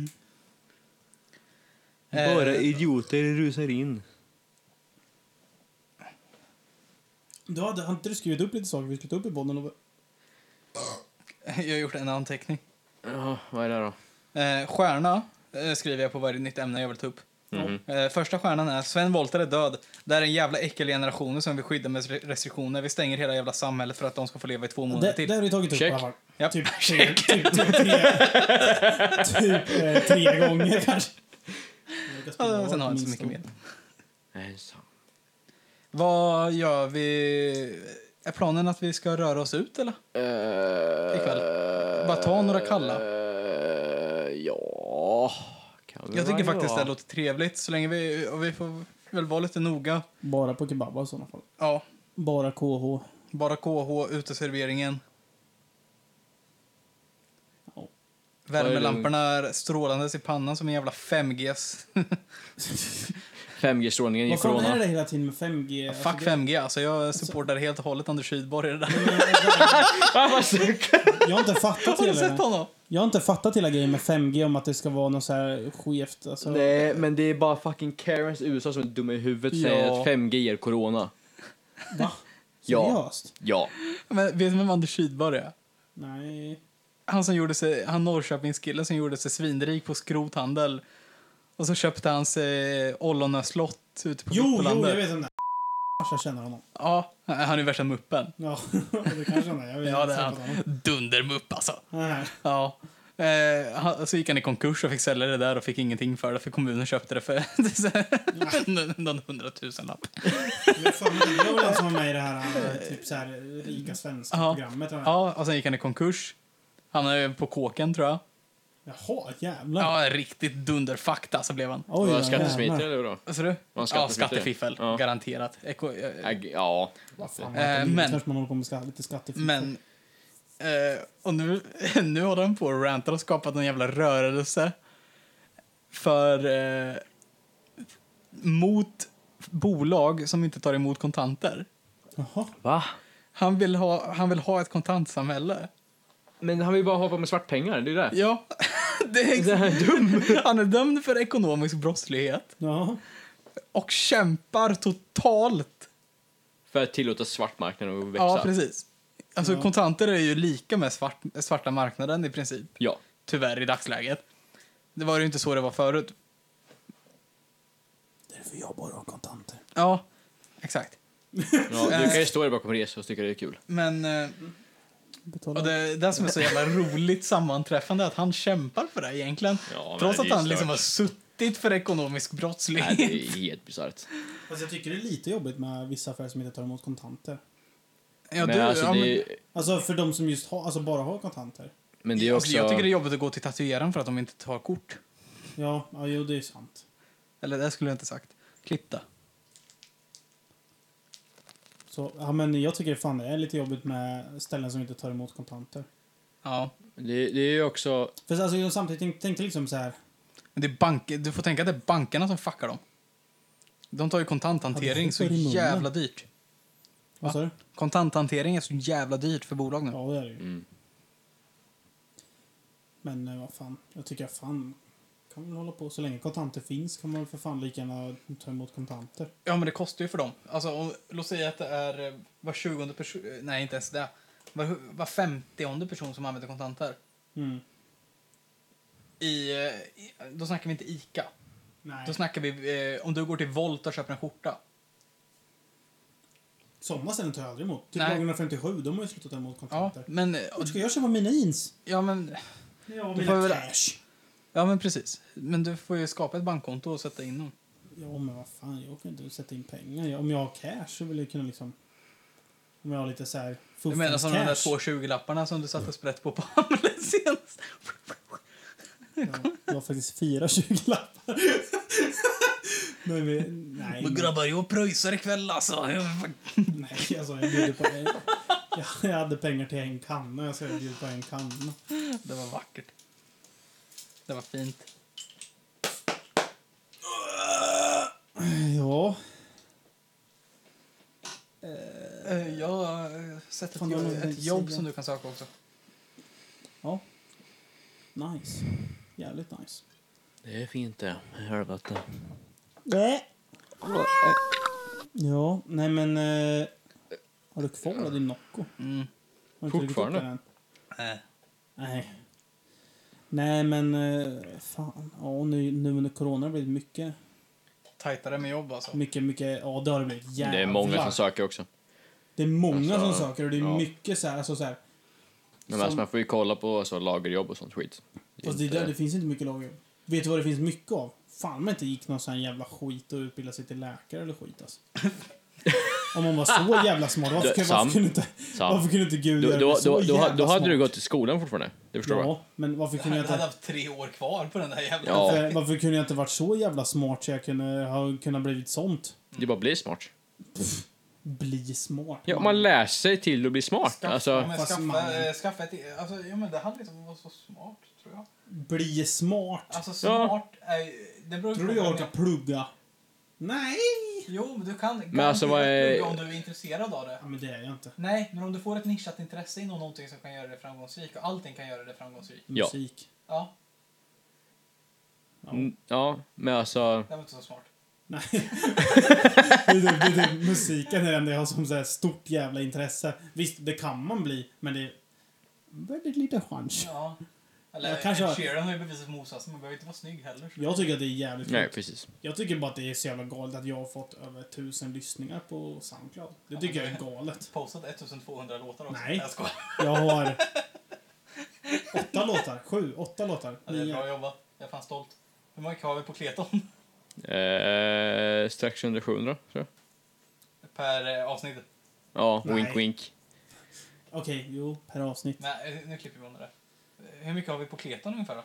Eh, idioter rusar in. Du hade, hade inte du skrivit upp lite saker vi skulle ta upp i podden? Och... Eh, jag har gjort en anteckning. Ja, vad är det då? Eh, stjärna eh, skriver jag på varje nytt ämne jag vill ta upp. Mhm. Eh, första stjärnan är Sven Wollter är död. Det här är en jävla äckelgeneration som vi skyddar med re- restriktioner. Vi stänger hela jävla samhället för att de ska få leva i två månader Det, det till. har du tagit upp Check. i alla fall. Japp. Typ, tre, typ, typ, tre, typ eh, tre gånger kanske. Ja, sen har jag inte så mycket mer. Nej, så. Vad gör vi? Är planen att vi ska röra oss ut eller? Ikväll. Bara ta några kalla. Eh, ja... Kan det Jag tycker vara faktiskt jag? det låter trevligt så länge vi, och vi får väl vara lite noga. Bara på kebaba i sådana fall. Ja, Bara KH. bara KH, uteserveringen. Ja. Värmelamporna är strålandes i pannan som en jävla 5Gs. alltså 5G-strålningen i Vad fan är corona. det hela tiden med 5G? Alltså, Fuck det- 5G alltså, jag supportar helt och hållet Anders Rydborg i det där. Ah, Jag har inte fattat Har du hela sett det. honom? Jag har inte fattat hela grejen med 5G om att det ska vara något så här skevt. Alltså. Nej, men det är bara fucking Karens i USA som är dumma i huvudet och säger Ja. att 5G ger corona. Va? Ja. Seriöst? Ja. Men vet du vem Anders Rydborg är? Nej. Han som gjorde sig, han Norrköpingskillen som gjorde sig svinrik på skrothandel. Och så köpte han sig ollonöslott ute på Jo, jo, Vikbolandet. jag vet om det Jag känner honom. Ja, han är värsta muppen. Ja, det kanske han är. Jag vet Ja, det inte är säkert honom. han. Dundermupp alltså. Nej. Ja. Eh, han, så gick han i konkurs och fick sälja det där och fick ingenting för det för kommunen köpte det för någon hundratusenlapp. Men fan, det var väl han som var med i det här eh, typ så här, rika svenska Ja. programmet. eller? Ja, och sen gick han i konkurs. Han är på kåken tror jag. Jaha, jävlar. Ja, riktigt dunderfakta så blev han. Oj, Var ja, det skattesmitare jävlar. eller vadå? Vad sa du? han Ja, skattefiffel? skattefiffel. Ja. Garanterat. Eko, eh, Ägg- Äh, Ja. Vad fan, Eh, äh, men- men... Kanske man håller på med skatt, lite typ. skattefiffel. men... Eh, och nu, nu håller han på och rantar och skapat en jävla rörelse. För... Eh, mot bolag som inte tar emot kontanter. Jaha. Va? Han vill ha, han vill ha ett kontantsamhälle. Men han vill bara ha på med svartpengar, det är det. Ja, det är Det här är dumt. Han är dömd för ekonomisk brottslighet Ja. och kämpar totalt. För att tillåta svartmarknaden att växa. Ja, precis. Alltså kontanter är ju lika med svart, svarta marknaden i princip. Ja. Tyvärr i dagsläget. Det var ju inte så det var förut. Därför jag bara har kontanter. Ja, exakt. ja. Du kan ju stå där bakom resor och tycka det är kul. Men eh, Betala. och det, det som är så jävla roligt sammanträffande är att han kämpar för det egentligen. Ja, men Trots det är att ju han liksom stört. har suttit för ekonomisk Nej, brottslighet. det är helt bisarrt. Fast Alltså, jag tycker det är lite jobbigt med vissa affärer som inte tar emot kontanter. Ja, men, du- alltså, ja, men- det, Alltså för de som just har, alltså bara har kontanter. men det är också... alltså, jag tycker det är jobbigt att gå till tatueraren för att de inte tar kort. Ja, ja jo, det är sant. Eller det skulle jag inte sagt. Klippta. Så, ja, men jag tycker fan det är lite jobbigt med ställen som inte tar emot kontanter. Ja. det, det är ju också... För alltså, jag samtidigt tänkte, tänkte liksom så här. Men det är bank, du får tänka att det är bankerna som fuckar dem. De tar ju kontanthantering Ja, det så hoppar i munnen. jävla dyrt. Vad sa du? Kontanthantering är så jävla dyrt för bolag nu. Ja, det är det ju. Mm. Men eh, vad fan, jag tycker fan kan väl hålla på. Så länge kontanter finns kan man väl för fan lika gärna ta emot kontanter. Ja, men det kostar ju för dem. Alltså, om, låt säga att det är eh, var 20 person... Nej, inte ens det. Var, var 50 person som använder kontanter. Mm. I, eh, i, då snackar vi inte ICA. Nej. Då snackar vi eh, om du går till Volt och köper en skjorta. Sådana ställen tar jag aldrig emot. Typ Nej. 157, de har ju slutat ta emot Ja, kontanter. men... eh, Ja. Ska jag köpa mina jeans? Ja, men... Ja, Du mina får väl- cash. Ja, men precis. Men du får ju skapa ett bankkonto och sätta in dem. Ja, men vad fan, jag kan inte sätta in pengar. Jag, om jag har cash så vill jag kunna liksom... Om jag har lite så här... Du menar som alltså, de där två 20-lapparna som du satte sprätt på på Hamlet senast? Ja, jag har faktiskt fyra 20-lappar. nej, men, nej, Men grabbar, jag pröjsar ikväll alltså. Jag- nej, alltså jag bjuder på... Jag, jag hade pengar till en kanna, jag ska bjuda på en kanna. Det var vackert. Det var fint. Ja, Eh, Jag har sett ett Fan, jag jobb, måste ett jobb säga. som du kan söka också. ja. Nice. Jävligt nice. Det är fint det. Jag hör vad det. Nej. Ja, nej men... Eh, har du kvar då din Nocco? Mm. Har du inte druckit upp Fortfarande? den än? Eh, Nej. Nej, men eh, fan. Ja, nu, nu under corona har det blivit mycket. Tajtare med jobb alltså. Mycket, mycket. Ja, det har det blivit. Jävlar. Det är många som söker också. Det är många Alltså, som söker och det är ja. mycket så här, alltså så här. Men alltså, Som- man får ju kolla på alltså, lagerjobb och sånt skit. Det är Fast det, inte- där, det finns inte mycket lager. Vet du vad det finns mycket av? Fan man inte gick någon sån här jävla skit och utbildade sig till läkare eller skit alltså. Om man var så jävla smart, varför, Du, kunde- Sam. varför, kunde, inte, Sam. varför kunde inte Gud Då, göra då, mig så då, då, jävla då hade smart? du gått i skolan fortfarande. Det förstår jag. Ja, men varför Jag kunde jag hade inte... haft tre år kvar på den där jävla... Ja. Varför, varför kunde jag inte varit så jävla smart så jag kunde ha kunnat blivit sånt? Det bara blir smart. Bli smart. Ja, man. man lär sig till att bli smart. Skaffa, Alltså, men Fast skaffa, mannen. eh, skaffa ett... Alltså, ja, men det hade liksom varit så smart, tror jag. Bli smart. Alltså, smart är ju- Det beror ju Tror på du jag vad- orkar plugga? Nej! Jo, men du kan men alltså, vad är- om du är intresserad av det. Ja, men det är jag inte. Nej, men om du får ett nischat intresse inom någonting som kan göra dig framgångsrik och allting kan göra dig framgångsrik. Ja. Musik. Ja, mm, ja, men alltså... det var inte så smart. Nej. det är typ, det är typ, musiken är den jag har som så här stort jävla intresse. Visst, det kan man bli, men det är väldigt lite chans. Ja. Eller, Jag kanske Ed har- Sheeran har ju bevisat motsatsen. Man behöver inte vara snygg heller. Jag tycker att det är jävligt Nej, sjukt. precis. Jag tycker bara att det är så jävla galet att jag har fått över tusen lyssningar på Soundcloud. Det Ja, tycker jag men är det- galet. Postat 1200 låtar också. Nej. Jag skojar. Jag har åtta låtar. Sju, åtta låtar. Ja, det är Nio. bra jobbat. Jag är fan stolt. Hur många krav är på Kleton? Eh, strax under 700, tror jag. Per eh, avsnitt? Ja, Nej. wink wink. Okej, jo, per avsnitt. Nej, eh, nu klipper vi bort det där. Eh, Hur mycket har vi på Kleton ungefär då?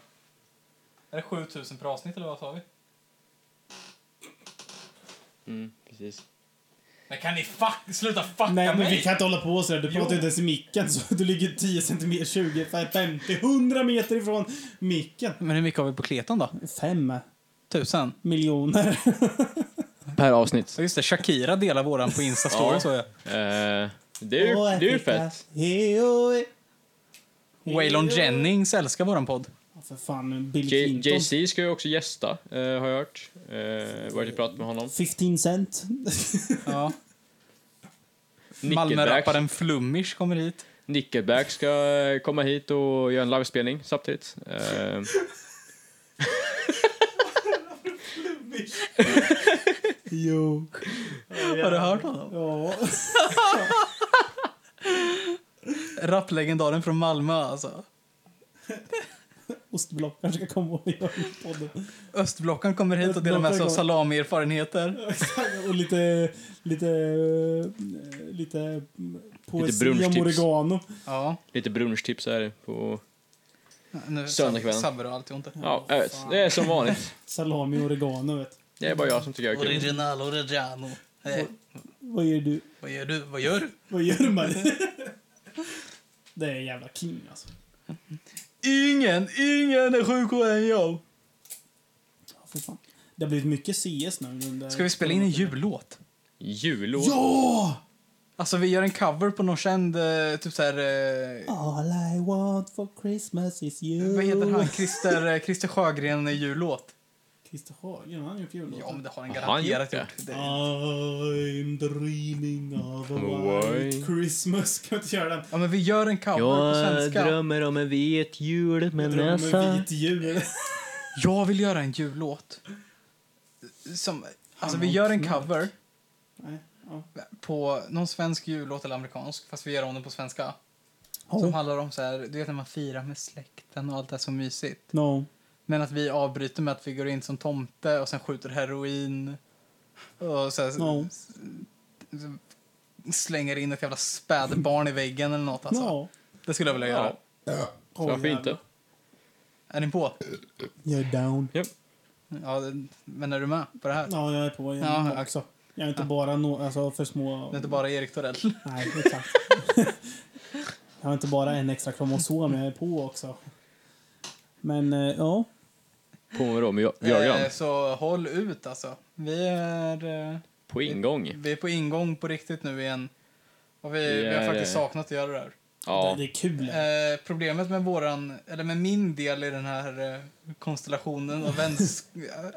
Är det 7000 per avsnitt eller vad sa vi? Mm, precis. Men kan ni fuck, sluta fucka Nej, men mig? vi kan inte hålla på sådär. Du Jo. pratar inte ens i micken. Så du ligger 10 centimeter, 20, 50, 100 meter ifrån micken. Men hur mycket har vi på kletan då? Fem Tusen? miljoner. Per avsnitt. Ja, just det. Shakira delar våran på Insta-story, Ja. så jag. Eh, det är ju, det är ju fett. Hej, Waylon Jennings älskar våran podd. Ja, för fan, Bill J- Clinton. JC ska ju också gästa, eh, har jag hört. Eh, varit i prat med honom. 15 cent. Ja. Nickelback, Malmörapparen Flummish kommer hit. Nickelback ska eh, komma hit och göra en livespelning samtidigt. Eh, jo. Har du hört honom? Ja. Rapplegendaren från Malmö, alltså. Ostblock kanske ska komma och göra podden. Östblockaren kommer hit och delar med sig av salamierfarenheter. Och lite... Lite... eh, Lite poesi om brunchtips. oregano. Ja. lite brunchtips här på... Nu Söndagskvällen. sabbar du alltihop. Ja, jag vet. Det är som vanligt. Salami och oregano, vet Det är bara jag som tycker jag är kul. Original oregano. Eh, Vad gör du? vad gör du? Vad gör du? Vad gör man? Det är en jävla king, alltså. Ingen, ingen är sjukare än jag. Ja, för fan. Det har blivit mycket CS nu under... Ska vi spela in en jullåt? Jullåt. Ja! Alltså vi gör en cover på någon känd, eh, typ såhär... Eh, All I want for Christmas is you. vad heter han? Christer, eh, Christer Sjögren eh, jullåt. Christer Hagen, han har gjort jullåten. Ja men det har han Har han garanterat gjort gjort. det? Det- I'm dreaming of a Why? white Christmas. Kan vi inte göra den? Ja men vi gör en cover på svenska. drömmer om en vit jul Jag drömmer om en vit jul. Jag vill göra en jullåt. Som, alltså vi har gör en knark. cover Nej, ja. på någon svensk jullåt eller amerikansk fast vi gör om den på svenska. Som Oh, handlar om så här, du vet när man firar med släkten och allt det är så mysigt. no. Men att vi avbryter med att vi går in som tomte och sen skjuter heroin. Och så här, No. s- s- slänger in ett jävla spädbarn i väggen eller något alltså. No. Det skulle jag vilja göra. Ja, så varför inte? Är ni på? Jag är down. Ja, det- men är du med på det här? Ja, jag är på igen Ja, ja. också. Jag är inte bara no, alltså, för små... Det är inte bara Erik Torell. Nej, exakt. jag har inte bara en extra kromosom, jag är på också. Men, eh, ja. På med då, med Björgan. Eh, så håll ut alltså. Vi är, eh, På ingång. vi är på ingång på riktigt nu igen. Och vi, Vi vi har är, faktiskt eh, saknat att göra det här. Ja, Det är kul. Eh, problemet med våran, eller med min del i den här eh, konstellationen och vänsk... eh,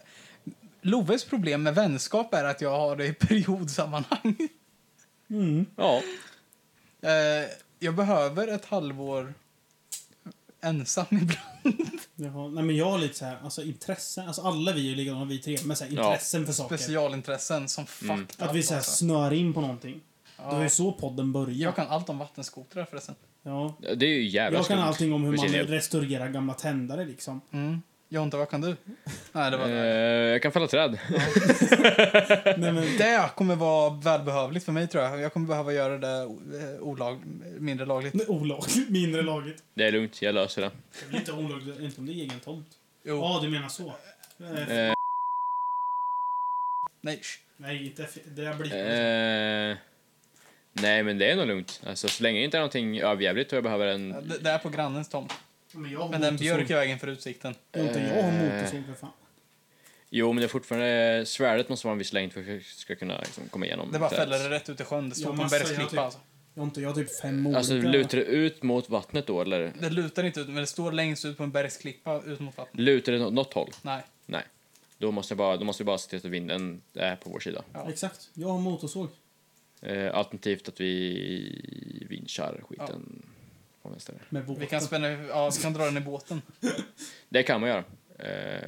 Loves problem med vänskap är att jag har det i periodsammanhang. Mm. ja. Eh, jag behöver ett halvår ensam ibland. Jaha. Nej, men jag har lite så här, alltså intressen. Alltså alla vi är likadana, vi tre, men så här, Ja. intressen för saker. Specialintressen som fuck Mm. allt, Att vi så här, alltså. snör in på någonting. Det var ja. ju så podden Jag började. kan allt om vattenskotrar förresten. Ja. Det är ju jävla Jag kan skumt. allting om hur man Precis, jag- restaurerar gamla tändare liksom. Mm. Jonte, vad kan du? Nej, det var Eh, det. jag kan fälla träd. Nej, men, Det kommer vara välbehövligt för mig tror jag. Jag kommer behöva göra det eh, olag, mindre lagligt. nej, olagligt, mindre lagligt. Det är lugnt, jag löser det. Det blir inte olagligt, inte om det är egen tomt. Jo. Ja, du menar så. Eh, Eh, Nej, sh. Nej, inte f- det där blir... eh, nej, men det är nog lugnt. Alltså, så länge det inte är någonting överjävligt och jag behöver en... Ja, Det, det är på grannens tomt. men jag har Men den motorsåg. björk i vägen för utsikten. Jo, inte jag har Eh. motorsåg för fan. Jo, men det är fortfarande... Svärdet måste vara en viss längd för att jag ska kunna liksom, komma igenom. Det bara trädet. fäller det rätt ut i sjön. Det Ja, står på en massa, jag bergsklippa. tycker- Alltså. Jag har inte, jag har typ fem olika. Alltså, lutar det ut mot vattnet då, eller? Det lutar inte ut, men det står längst ut på en bergsklippa ut mot vattnet. Lutar det åt något håll? Nej. Nej. Då måste, jag bara, då måste vi bara se till att vinden är på vår sida. Ja. Exakt, jag har motorsåg. Eh, alternativt att vi vinschar skiten. på nästa gång. Med båten. Vi kan, spänna, ja, vi kan dra den i båten. Det kan man göra. Eh,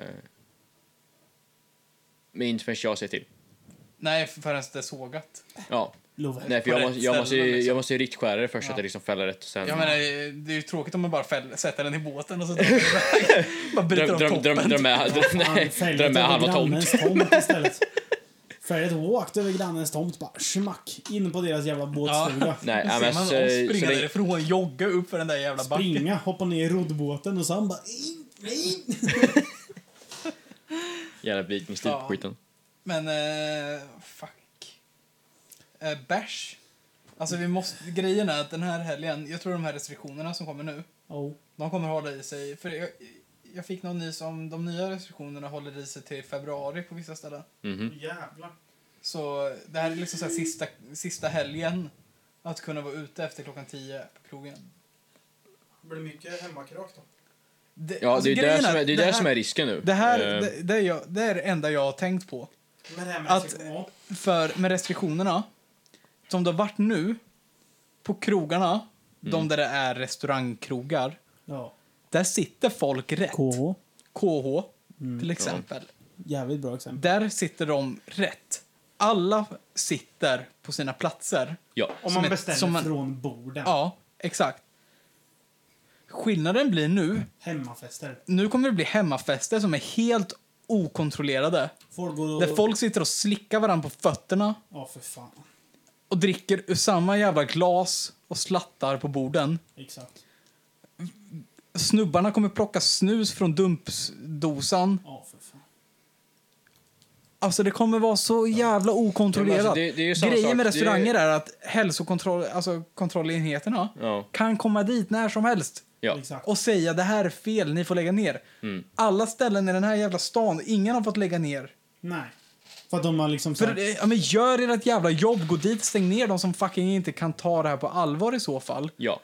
men inte förrän jag säger till. Nej, förrän det är sågat. Ja, Lova. nej, för På jag, rätt måste, jag, måste ställe, ju, liksom. jag måste ju riktskära det först så Ja. att det liksom fäller rätt och sen Jag menar, det är ju tråkigt om man bara fäll, sätter den i båten och så drar man iväg. dra, Bara bryter dra, av dra, toppen. dra med, dra, nej, Fället dra med över halva tomt. typ grannens tomt istället. Fället åkte över grannens tomt bara smack in på deras jävla båtstuga. Nej, Då ja, ser men man så, oss så, springa länge- därifrån, jogga upp för den där jävla backen. Springa, hoppa ner i roddbåten och sen bara in, in. jävla vikingslip Ja. skiten. Men, eh, fuck. Eh, bärs. Alltså, vi måste... Grejen är att den här helgen, jag tror de här restriktionerna som kommer nu, Oh. de kommer hålla i sig... För jag, jag fick någon nys om de nya restriktionerna håller i sig till februari på vissa ställen. Mhm. Alltså, Jävlar. Så det här är liksom så här sista, sista helgen att kunna vara ute efter klockan 10 på krogen. Blir det mycket hemmakrak då? Det, Ja, alltså, det är ju grejen det, som är, det, är här, det som är risken nu. Det här, Eh, det, det, är jag, det är det enda jag har tänkt på. Men det här med Att- att... Ja. För med restriktionerna, som det har varit nu, på krogarna, Mm. de där det är restaurangkrogar, ja. där sitter folk rätt. KH. KH, till Mm. exempel. Jävligt bra exempel. Där sitter de rätt. Alla sitter på sina platser. ja. Om Som man ett- beställer som man- från borden. Ja, exakt. Skillnaden blir nu, Hemmafester. nu kommer det bli hemmafester som är helt okontrollerade. Folk går och... Där folk sitter och slickar varandra på fötterna Ja, för fan. och dricker ur samma jävla glas och slattar på borden. Exakt. Snubbarna kommer plocka snus från dumpsdosan. Ja, för fan. Alltså det kommer vara så jävla okontrollerat. Ja, men alltså, det- det är ju samma Grejen sak. med Det är- restauranger är att hälsokontroll, alltså kontrollenheterna Ja. kan komma dit när som helst ja. Mm. Exakt. och säga det här är fel, ni får lägga ner. Alla ställen i den här jävla stan, ingen har fått lägga ner. Nej. För att de har liksom... För, För... eh, ja, men gör ert jävla jobb, gå dit, stäng ner de som fucking inte kan ta det här på allvar i så fall. ja.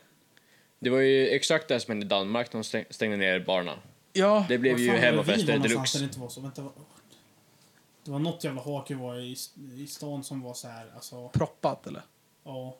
Det var ju exakt det här som hände i Danmark. De stäng- stängde ner barerna. Ja, Det blev ju hemmafester deluxe. Det deluxe. inte var så. Vänta, vad- det var något jävla hake var i, i stan som var så här, alltså... proppat eller? Ja.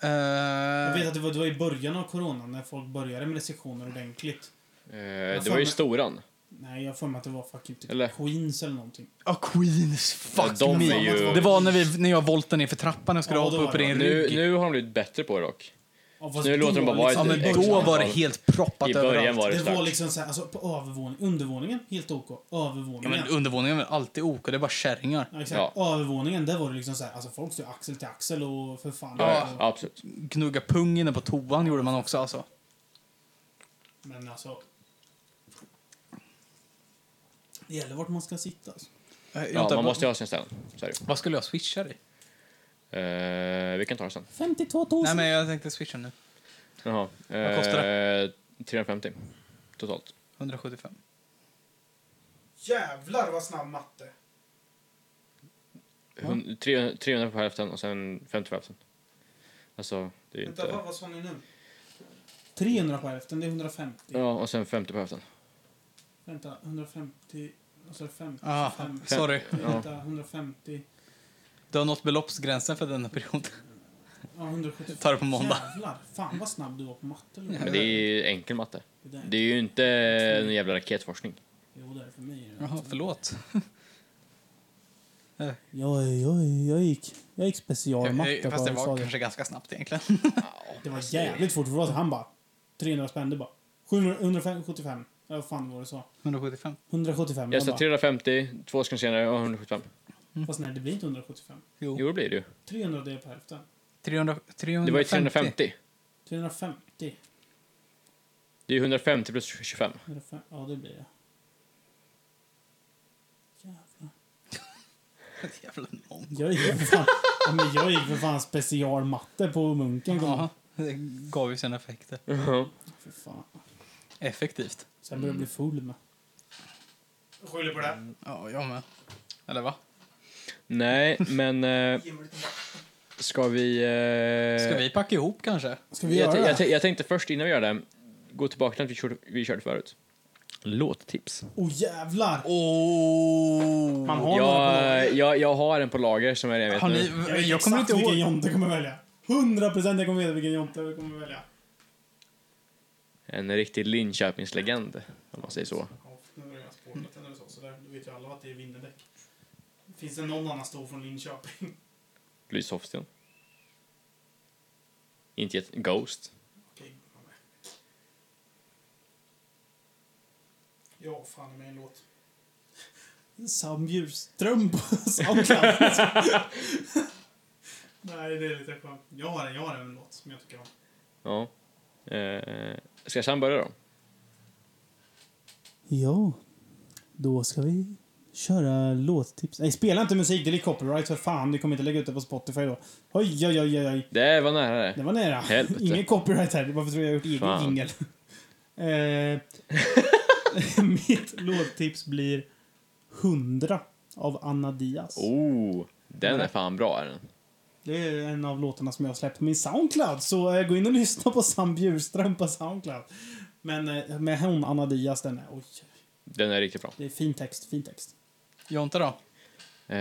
Jag Eh, vet att det var, det var i början av coronan när folk började med restriktioner ordentligt. Eh, det fan, var ju men- Storan. Nej, jag har för mig att det var fucking typ Eller? Queens eller någonting. Ja, Queens, fuck Ja, de me. är ju- Det var när, vi, när jag voltade ner för trappan och skulle Ja, hoppa då upp i var det. din Nu, rygg. nu har de blivit bättre på det dock. Ja, fast Nu låter de bara vara ja, liksom, men ett- i då början- exakt. var det helt proppat I början överallt. var det Det var starkt. liksom så här, alltså på övervåningen, undervåningen, helt OK. Ja, Övervåningen. men undervåningen var alltid ok, det är bara kärringar. Ja, exakt. Övervåningen, där var det liksom så här, alltså folk stod axel till axel och för fan. Ja, Ja. ja, absolut. Gnugga pung inne på toan gjorde man också alltså. Men alltså... Det gäller vart man ska sitta. Alltså. Eh, jag Ja, undrar, man vad- måste ju ha sin ställen. Så är det. Vad skulle jag swisha dig? Eh, vi kan ta det sen. 52 000. Nej, men jag tänkte swisha nu. Jaha. Vad kostar det? 350 totalt. 175. Jävlar vad snabb matte. Hun- 300 300 på hälften och sen 50 på hälften. Alltså, det är ju inte... vad sa ni nu? 300 på hälften, det är 150. Ja, och sen 50 på hälften. Vänta, 150... Alltså 50... Ah, 25. sorry. Vänta, 150... Du har nått beloppsgränsen för denna period. Ja, 175. Ta det på måndag. Jävlar, fan vad snabb du var på matte. Lola. Men det är ju enkel matte. Det där- Det är ju inte en jävla raketforskning. Jo, det är för mig. Alltså. är det. Jaha, förlåt. Jag, jag, jag gick, jag gick Eh, specialmatte på Fast det var högstadiet. kanske ganska snabbt egentligen. Det var jävligt fort. För då, han bara... 300 spänn, det bara... 700 175. Ja, vad fan var det så? 175. 175. Jag jag sa bara, 350, två sekunder senare och 175. Fast nej, det blir inte 175. Jo. Jo, det blir det ju. 300 delat på hälften. 300, 350. Det var ju 350. 350. Det är ju 150 plus 25. 105. Ja, det blir det. Jävlar. Jävla mång. Jag gick för fan, ja, men jag gick för fan specialmatte på Munken. kom Ja, det gav ju sina effekter. För fan. Effektivt. Sen började jag bli full med. Skyller på det. Ja, jag med. Eller va? Nej, men... eh, ska vi... eh, Ska vi packa ihop kanske? Ska vi jag, göra t- jag, det? t- jag tänkte först, innan vi gör det, gå tillbaka till att vi körde, vi körde förut. Låttips. Åh jävlar! Oh. Man har några på Jag, lager. jag, jag har en på lager som jag redan vet Har nu. ni, Jag, jag kommer inte vilken ihåg. Jonte kommer välja. 100% jag kommer veta vilken Jonte jag kommer välja. En riktig Linköpingslegend, om man säger så. Ja, nu är det ganska påligt eller så. Så där, då vet ju alla att det är vinterdäck. Finns det någon annan stor från Linköping? Lyshovsten. Inte jätte... Ghost. Okej, man är. Ja, fan är med en låt. Sam Bjurström på Soundcloud. Nej, det är lite skönt. Jag har en, jag har en låt som jag tycker om. Ja. Eh, ska Sam börja då? Ja, då ska vi köra låttips. Nej, spela inte musik, det är copyright för fan. Du kommer inte lägga ut det på Spotify då. Oj, oj, oj, oj, oj. Det var nära det. Det var nära. Helvete. Ingen copyright här. Varför tror jag jag har gjort egen Fan. jingel? eh, mitt låttips blir 100 av Anna Diaz. Oh, den är fan bra är den. Det är en av låtarna som jag har släppt på min Soundcloud. Så eh, gå in och lyssna på Sam Bjurström på Soundcloud. Men eh, med hon, Anna Diaz, den är... Oj, Den är riktigt bra. det är fin text, fin text. Jonte då? Eh,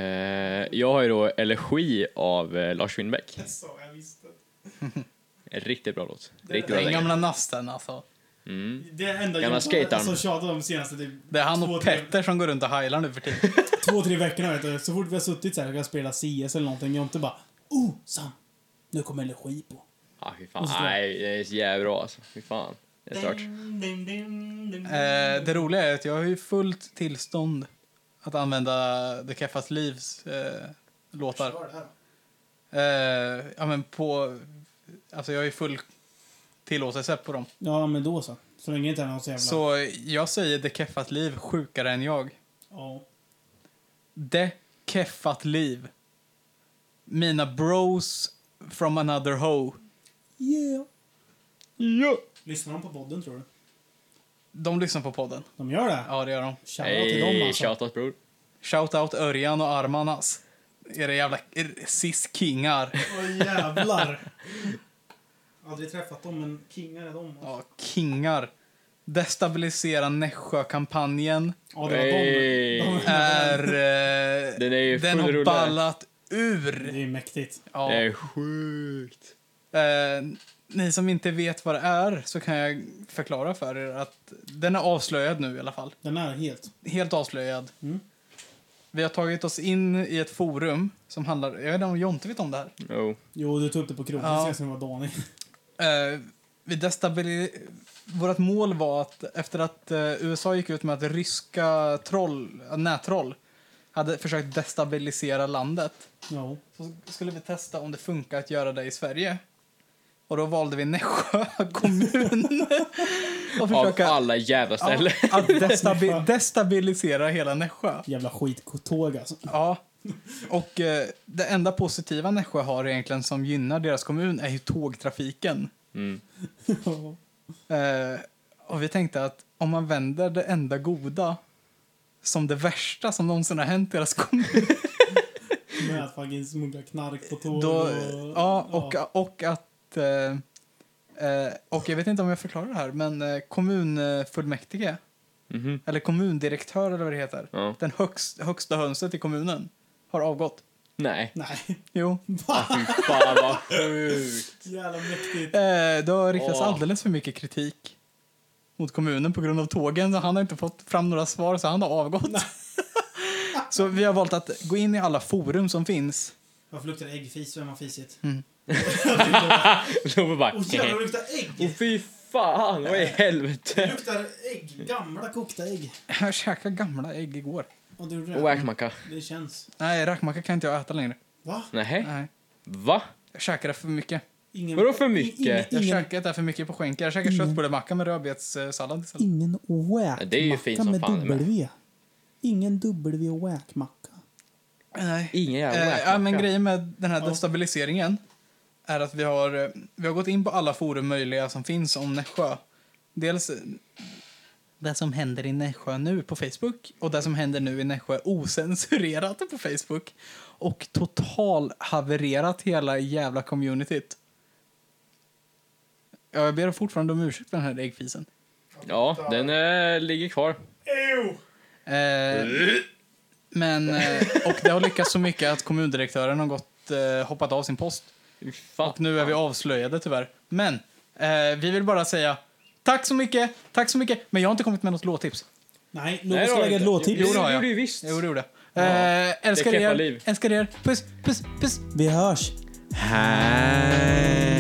jag har ju då Elegi av eh, Lars Winnerbäck. Så jag visste. En riktigt bra låt. Det- Riktigt bra Den länge. gamla nasten alltså. Mm. Det är enda Gamla jag skataren. som tjatar om senaste typ Det är han Två, och tre. Petter som går runt och heilar nu för tiden. två, tre veckorna. Vet du. Så fort vi har suttit så här och kan spela CS eller någonting. Jag inte bara oh Sam, nu kommer energi på. Ah, fy fan. Och så drar- Nej, det är så jävla bra alltså. Fy fan. Det är stört. Eh, det roliga är att jag har ju fullt tillstånd att använda The Keffas Livs eh, låtar. Eh, ja, men på... Alltså, jag har ju full tillåtelse på dem. Ja, men då så. Så länge det inte är någon så jävla... Så jag säger The Keffat Liv sjukare än jag. Ja. The Keffat Liv. Mina bros from another hoe. Yeah. Ja. Lyssnar de på podden tror du? De lyssnar på podden. De gör det? Ja, det gör de. Shoutout till dem Hej, alltså. shoutout bror. Shout out Örjan och Armanas. Era jävla er, cis-kingar. Åh jävlar. Aldrig träffat dem, men kingar är de. alltså. Ja, kingar. Destabilisera Nässjö-kampanjen Ja, det var de. de. är... Eh, Den är ju den full har rulle. ballat Det är ur. ju mäktigt. Ja. Det är sjukt. Eh, ni som inte vet vad det är så kan jag förklara för er att den är avslöjad nu i alla fall. Den är helt... Helt avslöjad. Mm. Vi har tagit oss in i ett forum som handlar... Jag vet inte om Jonte vet om det här. Jo. Jo, du tog upp det på krogen Ja. senast när det var Daniel. Eh, vi destabiliserade... Vårt mål var att efter att eh, USA gick ut med att ryska troll, eh, nättroll hade försökt destabilisera landet Ja. så skulle vi testa om det funkar att göra det i Sverige. Och då valde vi Nässjö kommun. och Av försöka alla jävla ställen. Ja, att destabi- destabilisera hela Nässjö. Jävla skittåg alltså. Ja. Och eh, det enda positiva Nässjö har egentligen som gynnar deras kommun är ju tågtrafiken. Mm. Eh, och vi tänkte att om man vänder det enda goda som det värsta som någonsin har hänt deras kommun. Med att fucking smuggla knark på tåg Då, och... ja, och, och att... Eh, eh, och jag vet inte om jag förklarar det här, men eh, kommunfullmäktige, Mhm. eller kommundirektör eller vad det heter, Ja. den högst, högsta hönset i kommunen har avgått. Nej. Nej. Jo. Ah, fy fan vad sjukt. Jävla mäktigt. Eh, det har riktats Åh. alldeles för mycket kritik mot kommunen på grund av tågen. Så han har inte fått fram några svar, så han har avgått. så vi har valt att gå in i alla forum som finns. Varför luktar det äggfis? Vem har fisit? Love bara... Åh jävlar, det luktar ägg! Åh fy fan, vad i Det helvete. luktar ägg. Gamla kokta ägg. Jag käkade gamla ägg igår. Och du Och räkmacka. Det känns. Nej, rackmacka kan inte jag äta längre. Va? Nej. Nej, Va? jag käkade för mycket. Ingen, Vadå för Ingen, mycket? Jag ingen, käkade det här för mycket på skänken. Jag käkade köttbullemacka med rödbetssallad istället. ingen Ja, det är ju fint whack-macka som med fan det med. W. Ingen W och whack-macka. Nej. Ingen jävla Eh, ja, men räkmacka. grejen med den här Ja. destabiliseringen är att vi har, eh, vi har gått in på alla forum möjliga som finns om Nässjö. Dels eh, det som händer i Nässjö nu på Facebook och det som händer nu i Nässjö osensurerat på Facebook. Och total havererat hela jävla communityt. Ja, jag ber fortfarande om ursäkt för den här äggfisen. Ja, den eh, ligger kvar. Eh, men, eh, och det har lyckats så mycket att kommundirektören har gått, eh, hoppat av sin post. Fy Fan. Och nu är vi avslöjade tyvärr. Men eh, vi vill bara säga Tack så mycket, tack så mycket. Men jag har inte kommit med något låttips. Nej, Nej, Lovis det ska har lägga jag ett inte. låttips. Jo, det har har jag. jag. gjorde ju visst. Jo, det gjorde jag. Eh, älskar det är Keffa er, liv. älskar er. Puss, puss, puss. Vi hörs. Hej.